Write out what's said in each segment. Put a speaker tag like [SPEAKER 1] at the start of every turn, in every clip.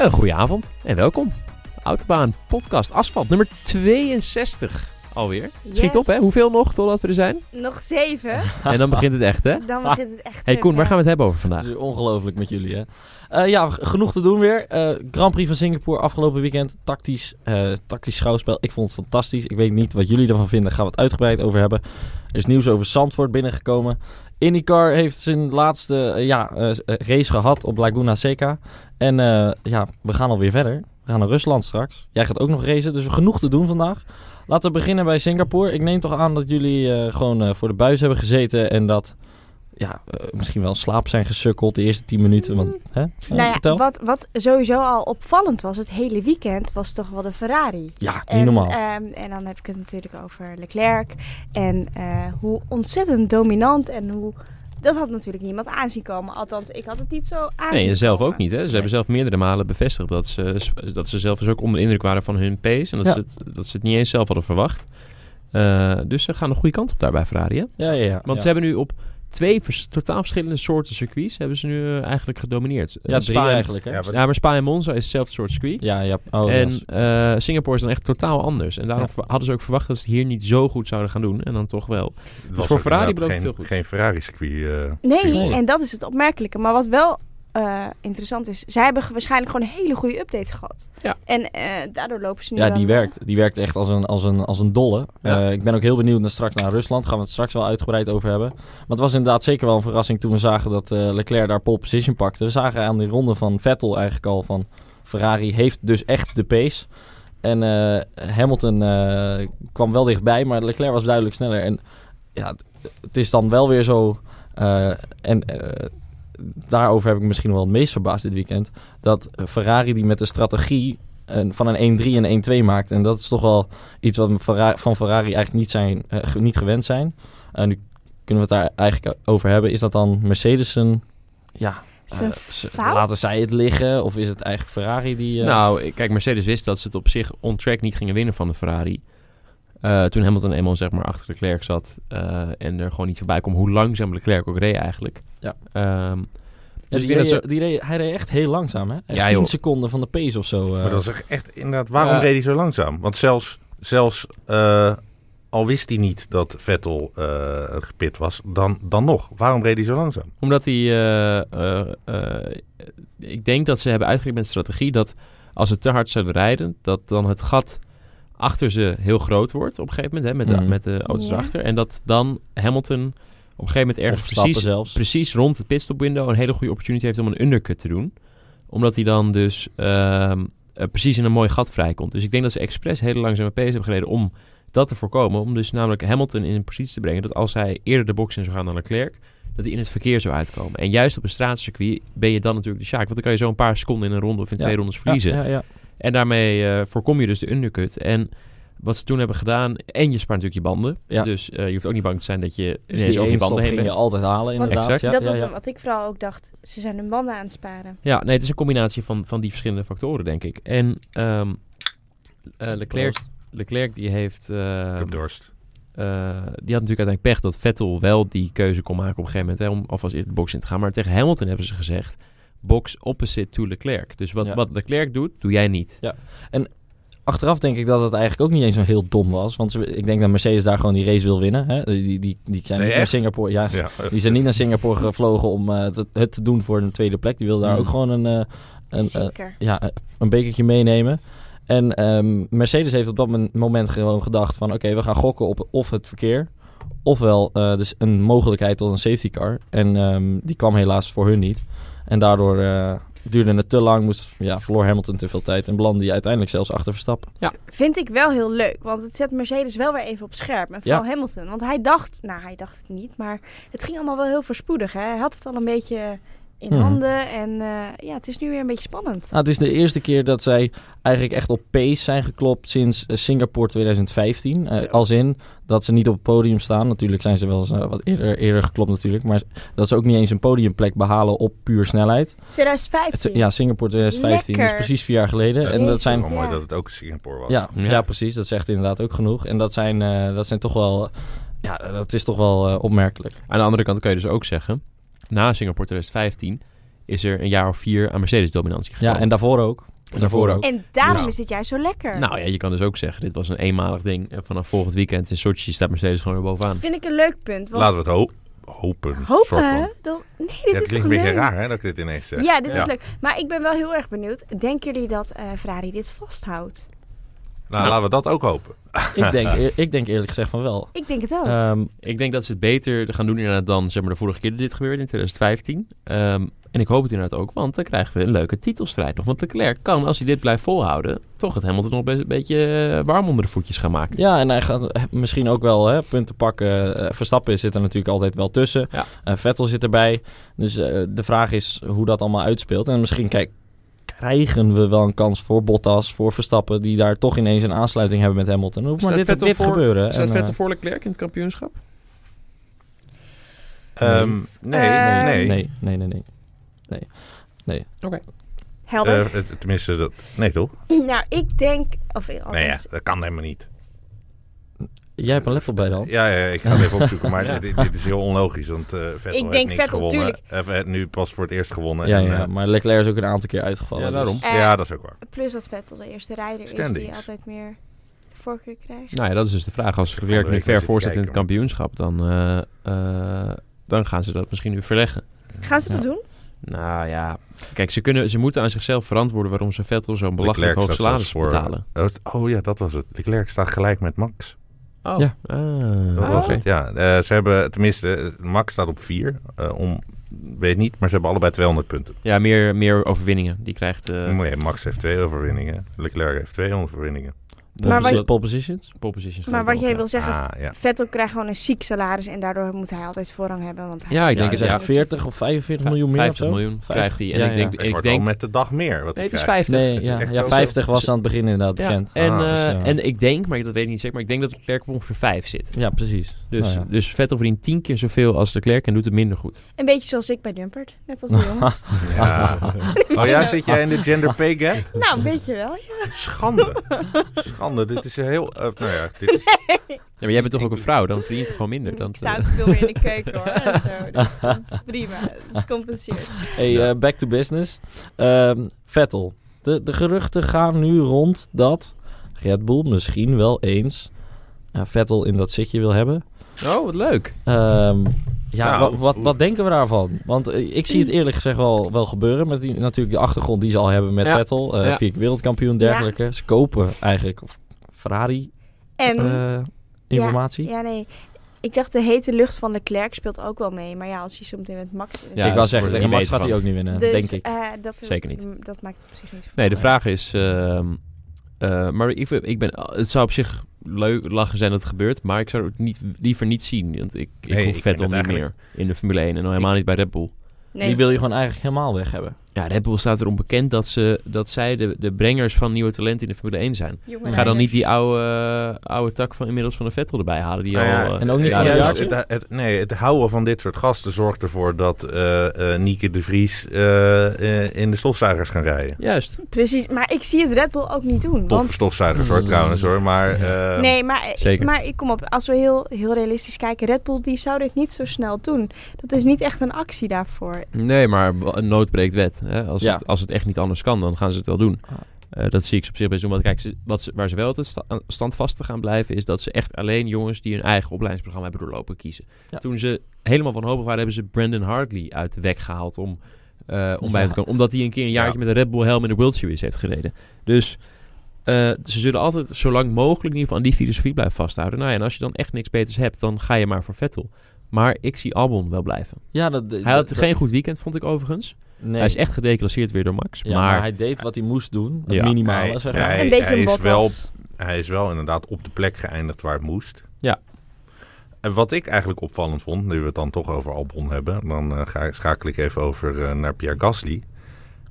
[SPEAKER 1] Een goedenavond en welkom. Autobaan Podcast Asfalt nummer 62 alweer. Het Schiet
[SPEAKER 2] Yes.
[SPEAKER 1] op, hè? Hoeveel nog totdat we er zijn?
[SPEAKER 2] Nog zeven.
[SPEAKER 1] En dan begint het echt, hè?
[SPEAKER 2] Dan begint het echt.
[SPEAKER 1] Ah. hey Koen, waar gaan we het hebben over vandaag?
[SPEAKER 3] Het is ongelooflijk met jullie, hè? Eh, ja, g- genoeg te doen weer. Eh, Grand Prix van Singapore afgelopen weekend. Tactisch, eh, tactisch schouwspel. Ik vond het fantastisch. Ik weet niet wat jullie ervan vinden. Gaan we het uitgebreid over hebben. Er is nieuws over Zandvoort binnengekomen. IndyCar heeft zijn laatste eh, ja, eh, s- eh, race gehad op Laguna Seca. En eh, ja, we gaan alweer verder. We gaan naar Rusland straks. Jij gaat ook nog racen, dus genoeg te doen vandaag. Laten we beginnen bij Singapore. Ik neem toch aan dat jullie eh, gewoon eh, voor de buis hebben gezeten en dat ja, eh, misschien wel in slaap zijn gesukkeld de eerste 10 minuten. Want, hè? Eh,
[SPEAKER 2] Nou ja,
[SPEAKER 3] vertel.
[SPEAKER 2] wat, wat sowieso al opvallend was het hele weekend, was toch wel de Ferrari.
[SPEAKER 3] Ja, niet
[SPEAKER 2] en,
[SPEAKER 3] normaal.
[SPEAKER 2] ehm, en dan heb ik het natuurlijk over Leclerc. En eh, hoe ontzettend dominant en hoe. Dat had natuurlijk niemand aanzien komen. Althans, ik had het niet zo aanzien.
[SPEAKER 1] Nee, en zelf
[SPEAKER 2] komen.
[SPEAKER 1] ook niet, hè? Ze hebben zelf meerdere malen bevestigd dat ze, dat ze zelf dus ook onder de indruk waren van hun pace. En dat,
[SPEAKER 3] Ja.
[SPEAKER 1] ze, het, dat ze het niet eens zelf hadden verwacht. Eh, dus ze gaan de goede kant op daarbij, Ferrari, hè?
[SPEAKER 3] ja, ja, ja.
[SPEAKER 1] Want
[SPEAKER 3] ja.
[SPEAKER 1] ze hebben nu op twee vers- totaal verschillende soorten circuits... hebben ze nu eh, eigenlijk gedomineerd.
[SPEAKER 3] ja,
[SPEAKER 1] Eh,
[SPEAKER 3] drie
[SPEAKER 1] Spa en-
[SPEAKER 3] eigenlijk, hè?
[SPEAKER 4] Ja,
[SPEAKER 3] Ja,
[SPEAKER 4] maar-
[SPEAKER 1] Ja, maar Spa en Monza is hetzelfde soort circuit.
[SPEAKER 3] ja. Oh,
[SPEAKER 1] en
[SPEAKER 3] yes.
[SPEAKER 1] eh, Singapore is dan echt totaal anders. En daarom
[SPEAKER 3] Ja.
[SPEAKER 1] ver- hadden ze ook verwacht dat ze het hier niet zo goed zouden gaan doen. En dan toch wel.
[SPEAKER 4] Het was
[SPEAKER 1] Dus voor
[SPEAKER 4] ook
[SPEAKER 1] Ferrari
[SPEAKER 4] inderdaad
[SPEAKER 1] belooft het
[SPEAKER 4] geen,
[SPEAKER 1] heel goed.
[SPEAKER 4] Geen Ferrari-circuit. eh,
[SPEAKER 2] Nee,
[SPEAKER 4] circuit.
[SPEAKER 2] en dat is het opmerkelijke. Maar wat wel eh, interessant is, zij hebben ge- waarschijnlijk gewoon hele goede updates gehad.
[SPEAKER 1] Ja.
[SPEAKER 2] En eh, daardoor lopen ze nu.
[SPEAKER 3] Ja,
[SPEAKER 2] wel-
[SPEAKER 3] die werkt. Die werkt echt als een, als een, als een dolle.
[SPEAKER 1] Ja.
[SPEAKER 3] Eh, ik ben ook heel benieuwd naar straks naar Rusland. Gaan we het straks wel uitgebreid over hebben. Maar het was inderdaad zeker wel een verrassing toen we zagen dat eh, Leclerc daar pole position pakte. We zagen aan die ronde van Vettel eigenlijk al van Ferrari heeft dus echt de pace. En eh, Hamilton eh, kwam wel dichtbij, maar Leclerc was duidelijk sneller. En ja, het is dan wel weer zo. eh, en eh, daarover heb ik misschien wel het meest verbaasd dit weekend. Dat Ferrari die met de strategie een- van een 1-3 en een 1-2 maakt. En dat is toch wel iets wat we Ferra- van Ferrari eigenlijk niet, zijn, eh, ge- niet gewend zijn. En nu kunnen we het daar eigenlijk over hebben. Is dat dan Mercedes een... Ja,
[SPEAKER 2] Is een
[SPEAKER 3] eh, ze-
[SPEAKER 2] fout?
[SPEAKER 3] laten zij het liggen? Of is het eigenlijk Ferrari die... eh,
[SPEAKER 1] Nou, ik- kijk, Mercedes wist dat ze het op zich on track niet gingen winnen van de Ferrari. Eh, toen Hamilton eenmaal zeg maar achter Leclerc zat eh, en er gewoon niet voorbij kwam hoe langzaam Leclerc ook reed eigenlijk.
[SPEAKER 3] Ja.
[SPEAKER 1] Ehm,
[SPEAKER 3] Ja,
[SPEAKER 1] dus ik
[SPEAKER 3] die
[SPEAKER 1] denk dat
[SPEAKER 3] reed,
[SPEAKER 1] ze-
[SPEAKER 3] die reed- hij reed echt heel langzaam, hè? Echt
[SPEAKER 1] Ja,
[SPEAKER 3] 10
[SPEAKER 1] joh.
[SPEAKER 3] seconden van de pace of zo. eh.
[SPEAKER 4] Maar dat is echt- echt inderdaad... Waarom
[SPEAKER 1] Ja.
[SPEAKER 4] reed hij zo langzaam? Want zelfs, zelfs eh, al wist hij niet dat Vettel eh, gepit was, dan, dan nog. Waarom reed hij zo langzaam?
[SPEAKER 1] Omdat hij. eh, eh, eh, ik denk dat ze hebben uitgerekend met strategie dat als ze te hard zouden rijden, dat dan het gat achter ze heel groot wordt op een gegeven moment. Hè, met, de,
[SPEAKER 3] Mhm.
[SPEAKER 1] met de auto's
[SPEAKER 2] Ja.
[SPEAKER 1] erachter. En dat dan Hamilton op een gegeven moment
[SPEAKER 3] Of
[SPEAKER 1] ergens
[SPEAKER 3] Verstappen
[SPEAKER 1] precies,
[SPEAKER 3] zelfs.
[SPEAKER 1] precies rond het pitstop window een hele goede opportunity heeft om een undercut te doen. Omdat hij dan dus ehm, eh, precies in een mooi gat vrijkomt. Dus ik denk dat ze expres hele langzame pace hebben gereden om dat te voorkomen. Om dus namelijk Hamilton in een positie te brengen dat als hij eerder de box in zou gaan dan Leclerc, dat hij in het verkeer zou uitkomen. En juist op een straatcircuit ben je dan natuurlijk de Sjaak. Want dan kan je zo een paar seconden in een ronde of in
[SPEAKER 3] Ja.
[SPEAKER 1] twee rondes verliezen.
[SPEAKER 3] Ja, ja, ja.
[SPEAKER 1] En daarmee eh, voorkom je dus de undercut. En wat ze toen hebben gedaan, en je spaart natuurlijk je banden.
[SPEAKER 3] Ja.
[SPEAKER 1] Dus eh, je hoeft ook niet bang te zijn dat je
[SPEAKER 3] Dus
[SPEAKER 1] ineens
[SPEAKER 3] die
[SPEAKER 1] over je
[SPEAKER 3] één stap
[SPEAKER 1] banden heen
[SPEAKER 3] ging je
[SPEAKER 1] bent.
[SPEAKER 3] altijd halen,
[SPEAKER 2] Want-
[SPEAKER 3] inderdaad.
[SPEAKER 1] Exact.
[SPEAKER 3] Ja,
[SPEAKER 2] dat
[SPEAKER 3] ja,
[SPEAKER 2] was
[SPEAKER 3] ja.
[SPEAKER 2] dan wat ik vooral ook dacht. Ze zijn hun banden aan het sparen.
[SPEAKER 1] Ja, nee, het is een combinatie van, van die verschillende factoren, denk ik. En ehm, eh, Leclerc, Leclerc die heeft...
[SPEAKER 4] Ik
[SPEAKER 1] ehm,
[SPEAKER 4] heb dorst.
[SPEAKER 1] eh, die had natuurlijk uiteindelijk pech dat Vettel wel die keuze kon maken op een gegeven moment. Hè, om alvast in de box in te gaan. Maar tegen Hamilton hebben ze gezegd... Box opposite to Leclerc. Dus wat,
[SPEAKER 3] Ja.
[SPEAKER 1] wat Leclerc doet, doe jij niet.
[SPEAKER 3] Achteraf denk ik dat het eigenlijk ook niet eens zo heel dom was. Want ze- ik denk dat Mercedes daar gewoon die race wil winnen. Hè? Die, die, die, die zijn
[SPEAKER 4] Nee,
[SPEAKER 3] niet naar
[SPEAKER 4] echt?
[SPEAKER 3] Singapore... Ja,
[SPEAKER 4] Ja.
[SPEAKER 3] die zijn niet naar Singapore gevlogen om eh, het, het te doen voor een tweede plek. Die wil daar
[SPEAKER 4] Hmm.
[SPEAKER 1] Mm.
[SPEAKER 3] ook gewoon een, eh, een, eh,
[SPEAKER 2] Zeker.
[SPEAKER 3] ja, eh, een bekertje meenemen. En ehm, Mercedes heeft op dat men- moment gewoon gedacht van... oké, we gaan gokken op of het verkeer... ofwel eh, dus een mogelijkheid tot een safety car. En ehm, die kwam helaas voor hun niet. En daardoor eh, duurde het te lang. Moest, ja, verloor Hamilton te veel tijd. En belandde die uiteindelijk zelfs achter Verstappen.
[SPEAKER 2] Vind ik wel heel leuk, want het zet Mercedes wel weer even op scherp. En vooral Hamilton, want hij dacht, nou hij dacht het niet, maar het ging allemaal wel heel voorspoedig. Hè? Hij had het al een beetje in
[SPEAKER 3] Mhm.
[SPEAKER 2] handen en eh, ja, het is nu weer een beetje spannend.
[SPEAKER 3] Nou, het is de eerste keer dat zij eigenlijk echt op pace zijn geklopt sinds eh, Singapore 2015. Eh,
[SPEAKER 2] Zo.
[SPEAKER 3] als in dat ze niet op het podium staan. Natuurlijk zijn ze wel eens eh, wat eerder, eerder geklopt natuurlijk. Maar dat ze ook niet eens een podiumplek behalen op puur snelheid. Het,
[SPEAKER 2] 2015.
[SPEAKER 3] ja, Singapore 2015,
[SPEAKER 2] Lekker.
[SPEAKER 3] dus precies vier jaar geleden.
[SPEAKER 4] Ja,
[SPEAKER 3] en dat
[SPEAKER 2] Jezus.
[SPEAKER 3] zijn.
[SPEAKER 4] Wel mooi
[SPEAKER 2] Ja.
[SPEAKER 4] dat het ook Singapore was.
[SPEAKER 3] Ja,
[SPEAKER 1] Ja.
[SPEAKER 3] ja. precies. Dat zegt inderdaad ook genoeg. En dat zijn, eh, dat zijn toch wel. Ja, dat is toch wel eh, opmerkelijk.
[SPEAKER 1] Aan de andere kant kan je dus ook zeggen... Na Singapore 2015 is er een jaar of vier aan Mercedes-dominantie gekomen.
[SPEAKER 3] Ja, en daarvoor ook.
[SPEAKER 1] En daarvoor ook.
[SPEAKER 2] En daarom
[SPEAKER 4] Ja.
[SPEAKER 2] is het juist zo lekker.
[SPEAKER 1] Nou ja, je kan dus ook zeggen, dit was een eenmalig ding. En vanaf volgend weekend in Sochi staat Mercedes gewoon weer bovenaan.
[SPEAKER 2] Vind ik een leuk punt. Want
[SPEAKER 4] Laten we het ho- hopen. soort
[SPEAKER 2] hopen,
[SPEAKER 4] van.
[SPEAKER 2] hè? Dan... Nee, dit is
[SPEAKER 4] Ja, het
[SPEAKER 2] toch
[SPEAKER 4] klinkt een beetje
[SPEAKER 2] leuk?
[SPEAKER 4] raar hè, dat ik dit ineens zeg.
[SPEAKER 2] Ja, dit
[SPEAKER 4] Ja.
[SPEAKER 2] is leuk. Maar ik ben wel heel erg benieuwd. Denken jullie dat eh, Ferrari dit vasthoudt?
[SPEAKER 4] Nou, laten we dat ook hopen.
[SPEAKER 3] Ik denk, eer- ik denk eerlijk gezegd van wel.
[SPEAKER 2] Ik denk het ook.
[SPEAKER 3] Ehm,
[SPEAKER 1] Ik denk dat ze het beter gaan doen inderdaad dan zeg maar, de vorige keer dat dit gebeurde in 2015. Ehm, en ik hoop het inderdaad ook, want dan krijgen we een leuke titelstrijd nog. Want Leclerc kan, als hij dit blijft volhouden, toch het Hamilton nog best een beetje eh, warm onder de voetjes gaan maken.
[SPEAKER 3] ja, en hij gaat eh, misschien ook wel hè, punten pakken. Eh, Verstappen zit er natuurlijk altijd wel tussen.
[SPEAKER 1] Ja.
[SPEAKER 3] Eh, Vettel zit erbij. Dus eh, de vraag is hoe dat allemaal uitspeelt. En misschien kijk, krijgen we wel een kans voor Bottas, voor Verstappen... die daar toch ineens een aansluiting hebben met Hamilton. Dan hoeft
[SPEAKER 1] Staat
[SPEAKER 3] maar dit,
[SPEAKER 1] Vettel
[SPEAKER 3] dit
[SPEAKER 1] voor-
[SPEAKER 3] gebeuren.
[SPEAKER 1] Staat
[SPEAKER 3] En,
[SPEAKER 1] Vettel
[SPEAKER 3] eh,
[SPEAKER 1] voor Leclerc in het kampioenschap?
[SPEAKER 3] Nee.
[SPEAKER 4] Ehm, nee,
[SPEAKER 2] Eh,
[SPEAKER 4] nee,
[SPEAKER 3] Nee, nee, nee, nee.
[SPEAKER 2] Helder.
[SPEAKER 4] Eh, het- tenminste, dat, nee toch?
[SPEAKER 2] nou, ik denk... Of, eh,
[SPEAKER 1] Nou
[SPEAKER 4] Nee, ja,
[SPEAKER 2] althans,
[SPEAKER 4] dat kan helemaal niet.
[SPEAKER 3] Jij hebt een laptop bij de hand.
[SPEAKER 4] Ja, ja, ik ga het even opzoeken, maar dit, dit is heel onlogisch, want eh Vettel
[SPEAKER 2] Ik
[SPEAKER 4] heeft
[SPEAKER 2] denk
[SPEAKER 4] niks
[SPEAKER 2] Vettel,
[SPEAKER 4] gewonnen. Eh, nu pas voor het eerst gewonnen.
[SPEAKER 3] Ja,
[SPEAKER 4] en,
[SPEAKER 3] ja,
[SPEAKER 4] eh,
[SPEAKER 3] maar Leclerc is ook een aantal keer uitgevallen.
[SPEAKER 1] Ja,
[SPEAKER 3] dus-
[SPEAKER 1] daarom.
[SPEAKER 2] eh,
[SPEAKER 4] ja, dat is ook waar.
[SPEAKER 2] Plus dat Vettel de eerste rijder is die
[SPEAKER 4] Standings.
[SPEAKER 2] altijd meer voorkeur krijgt.
[SPEAKER 1] Nou ja, dat is dus de vraag. Als
[SPEAKER 4] van de
[SPEAKER 1] Leclerc nu
[SPEAKER 4] week
[SPEAKER 1] ver
[SPEAKER 4] naar
[SPEAKER 1] voor
[SPEAKER 4] zitten
[SPEAKER 1] zit in het
[SPEAKER 4] kijken,
[SPEAKER 1] kampioenschap, dan, eh, eh, dan gaan ze dat misschien nu verleggen.
[SPEAKER 2] Gaan ze dat
[SPEAKER 1] Ja.
[SPEAKER 2] doen?
[SPEAKER 1] Nou ja, kijk, ze, kunnen, ze moeten aan zichzelf verantwoorden waarom ze Vettel zo'n belachelijk
[SPEAKER 4] Leclerc
[SPEAKER 1] hoog
[SPEAKER 4] staat zelfs
[SPEAKER 1] salaris
[SPEAKER 4] voor-
[SPEAKER 1] betalen.
[SPEAKER 4] Oh, Oh ja, dat was het. Leclerc staat gelijk met Max.
[SPEAKER 1] Oh,
[SPEAKER 3] Ja.
[SPEAKER 1] Ah,
[SPEAKER 4] Dat was
[SPEAKER 1] oké.
[SPEAKER 4] het, ja. Eh, ze hebben, tenminste, eh, Max staat op 4. om, weet niet, maar ze hebben allebei 200 punten.
[SPEAKER 1] Ja, meer, meer overwinningen. Die krijgt eh
[SPEAKER 4] Nee, Max heeft twee overwinningen. Leclerc heeft twee overwinningen.
[SPEAKER 1] pole
[SPEAKER 2] Maar wat-
[SPEAKER 1] posi-
[SPEAKER 3] Dus Pole positions?
[SPEAKER 1] pole positions
[SPEAKER 2] Maar
[SPEAKER 1] gewoon
[SPEAKER 2] wat
[SPEAKER 1] wel,
[SPEAKER 2] jij
[SPEAKER 1] ja.
[SPEAKER 2] wil zeggen...
[SPEAKER 4] Ah, ja.
[SPEAKER 2] Vettel krijgt gewoon een ziek salaris en daardoor moet hij altijd voorrang hebben. Want hij
[SPEAKER 1] Ja, ik
[SPEAKER 3] Ja,
[SPEAKER 1] denk
[SPEAKER 3] ik
[SPEAKER 1] het ja.
[SPEAKER 3] zeg 40 of 45 miljoen meer of
[SPEAKER 1] 50
[SPEAKER 3] zo.
[SPEAKER 1] miljoen
[SPEAKER 3] 50.
[SPEAKER 1] krijgt hij. En
[SPEAKER 3] Ja,
[SPEAKER 1] ik denk,
[SPEAKER 3] ja.
[SPEAKER 4] Het
[SPEAKER 1] ik
[SPEAKER 4] wordt
[SPEAKER 1] denk
[SPEAKER 4] al met de dag meer
[SPEAKER 1] nee,
[SPEAKER 4] wat hij
[SPEAKER 1] het is
[SPEAKER 4] krijgt.
[SPEAKER 1] 50.
[SPEAKER 3] Nee,
[SPEAKER 4] Het is
[SPEAKER 3] ja,
[SPEAKER 4] echt
[SPEAKER 3] ja
[SPEAKER 4] zo
[SPEAKER 3] 50 was
[SPEAKER 4] zo.
[SPEAKER 3] aan het begin inderdaad
[SPEAKER 1] Ja,
[SPEAKER 3] bekend.
[SPEAKER 1] En,
[SPEAKER 4] Ah,
[SPEAKER 1] eh,
[SPEAKER 3] dus, ja.
[SPEAKER 1] en ik denk, maar dat weet ik niet zeker, maar ik denk dat Leclerc op ongeveer 5 zit.
[SPEAKER 3] Ja, precies.
[SPEAKER 1] Dus,
[SPEAKER 3] Nou ja.
[SPEAKER 1] dus Vettel verdient 10 keer zoveel als Leclerc en doet het minder goed.
[SPEAKER 2] Een beetje zoals ik bij Dumpert. Net als de jongens.
[SPEAKER 4] Ja. Oh ja, zit jij in de gender pay gap?
[SPEAKER 2] nou, een beetje wel. ja.
[SPEAKER 4] Schande. Schande, dit is heel... eh, nou ja, dit is...
[SPEAKER 1] Ja, maar jij bent toch ook een vrouw, dan verdient je gewoon minder. Dan,
[SPEAKER 2] Ik sta ook veel meer in de keuken hoor. en zo. Dat, dat is prima. Dat is compenseert.
[SPEAKER 3] Hey, eh, back to business. Ehm, Vettel. De, de geruchten gaan nu rond dat Red Bull misschien wel eens eh, Vettel in dat zitje wil hebben.
[SPEAKER 1] Oh, wat leuk.
[SPEAKER 3] Ehm, ja,
[SPEAKER 4] Nou,
[SPEAKER 3] wa- wat, wat denken we daarvan? Want eh, ik zie het eerlijk gezegd wel, wel gebeuren. Met die, natuurlijk de achtergrond die ze al hebben met
[SPEAKER 1] Ja.
[SPEAKER 3] Vettel. eh
[SPEAKER 1] Ja.
[SPEAKER 3] Vier keer wereldkampioen, dergelijke. Ze kopen eigenlijk of Ferrari
[SPEAKER 2] En...
[SPEAKER 3] eh, informatie.
[SPEAKER 2] Ja, nee. Ik dacht, de hete lucht van Leclerc speelt ook wel mee. Maar ja, als je soms met Max... in het-
[SPEAKER 1] Ja,
[SPEAKER 3] ik wou
[SPEAKER 1] ze
[SPEAKER 3] zeggen,
[SPEAKER 1] worden
[SPEAKER 3] tegen
[SPEAKER 1] niet
[SPEAKER 3] Max
[SPEAKER 1] beter
[SPEAKER 3] gaat hij
[SPEAKER 1] van.
[SPEAKER 3] ook niet winnen,
[SPEAKER 2] dus,
[SPEAKER 3] denk ik.
[SPEAKER 2] eh, dat,
[SPEAKER 1] Zeker niet.
[SPEAKER 2] m, Dat maakt op zich niet zoveel
[SPEAKER 1] Nee, de
[SPEAKER 2] uit.
[SPEAKER 1] vraag is... ehm, eh, maar ik, ik ben, het zou op zich leuk lachen zijn dat het gebeurt, maar ik zou het niet, liever niet zien. Want ik, ik
[SPEAKER 4] Nee, ik
[SPEAKER 1] hoef
[SPEAKER 4] vind
[SPEAKER 1] Vettel
[SPEAKER 4] het
[SPEAKER 1] niet meer
[SPEAKER 4] eigenlijk-
[SPEAKER 1] in de Formule 1 en al helemaal niet bij Red Bull.
[SPEAKER 2] Nee.
[SPEAKER 3] Die wil je gewoon eigenlijk helemaal weg hebben.
[SPEAKER 1] Ja, Red Bull staat erom bekend dat, ze, dat zij de, de brengers van nieuwe talenten in de Formule 1 zijn.
[SPEAKER 2] jonge
[SPEAKER 1] Ga dan
[SPEAKER 2] rijders.
[SPEAKER 1] niet die oude, eh, oude tak van inmiddels van de Vettel erbij halen. Die
[SPEAKER 4] Nou ja,
[SPEAKER 1] al, eh,
[SPEAKER 3] en ook niet
[SPEAKER 4] eh,
[SPEAKER 3] van
[SPEAKER 4] juist
[SPEAKER 3] een jaartje?
[SPEAKER 4] het, het- nee, het houden van dit soort gasten zorgt ervoor dat eh eh, Nieke de Vries eh, eh, in de stofzuigers gaan rijden.
[SPEAKER 1] Juist.
[SPEAKER 2] Precies, maar ik zie het Red Bull ook niet doen.
[SPEAKER 4] Toffe
[SPEAKER 2] Want,
[SPEAKER 4] stofzuigers hoor, trouwens hoor, maar... eh,
[SPEAKER 2] nee, maar,
[SPEAKER 1] Zeker.
[SPEAKER 2] maar ik kom op. Als we heel, heel realistisch kijken, Red Bull die zou dit niet zo snel doen. Dat is niet echt een actie daarvoor.
[SPEAKER 1] Nee, maar wa- een nood breekt wet. Hè? Als,
[SPEAKER 3] Ja.
[SPEAKER 1] het, als het echt niet anders kan, dan gaan ze het wel doen.
[SPEAKER 3] Ah.
[SPEAKER 1] Eh, dat zie ik ze op zich best doen. Want kijk, ze- wat ze, waar ze wel altijd sta- aan- standvastig gaan blijven... is dat ze echt alleen jongens die hun eigen opleidingsprogramma hebben doorlopen kiezen.
[SPEAKER 3] Ja.
[SPEAKER 1] Toen ze helemaal wanhopig waren, hebben ze Brandon Hartley uit de weg gehaald... om, eh, om bij
[SPEAKER 3] Ja.
[SPEAKER 1] hem te komen. Omdat hij een keer een jaartje met een Red Bull helm in de World Series heeft gereden. Dus eh, ze zullen altijd zo lang mogelijk in ieder geval aan die filosofie blijven vasthouden. Nou ja, en als je dan echt niks beters hebt, dan ga je maar voor Vettel. Maar ik zie Albon wel blijven.
[SPEAKER 3] Ja, dat,
[SPEAKER 1] Hij had
[SPEAKER 3] dat-
[SPEAKER 1] geen goed weekend, vond ik overigens.
[SPEAKER 3] nee.
[SPEAKER 1] Hij is echt gedeclasseerd weer door Max.
[SPEAKER 3] Ja, maar,
[SPEAKER 1] maar
[SPEAKER 3] hij deed wat hij moest doen. Het
[SPEAKER 1] Ja.
[SPEAKER 3] minimale,
[SPEAKER 4] hij,
[SPEAKER 3] zeg maar.
[SPEAKER 4] hij-
[SPEAKER 2] een beetje
[SPEAKER 4] hij
[SPEAKER 2] een
[SPEAKER 4] is
[SPEAKER 2] bot
[SPEAKER 4] wel, hij is wel inderdaad op de plek geëindigd waar het moest.
[SPEAKER 1] Ja.
[SPEAKER 4] En wat ik eigenlijk opvallend vond, nu we het dan toch over Albon hebben, dan eh, ga, schakel ik even over eh, naar Pierre Gasly.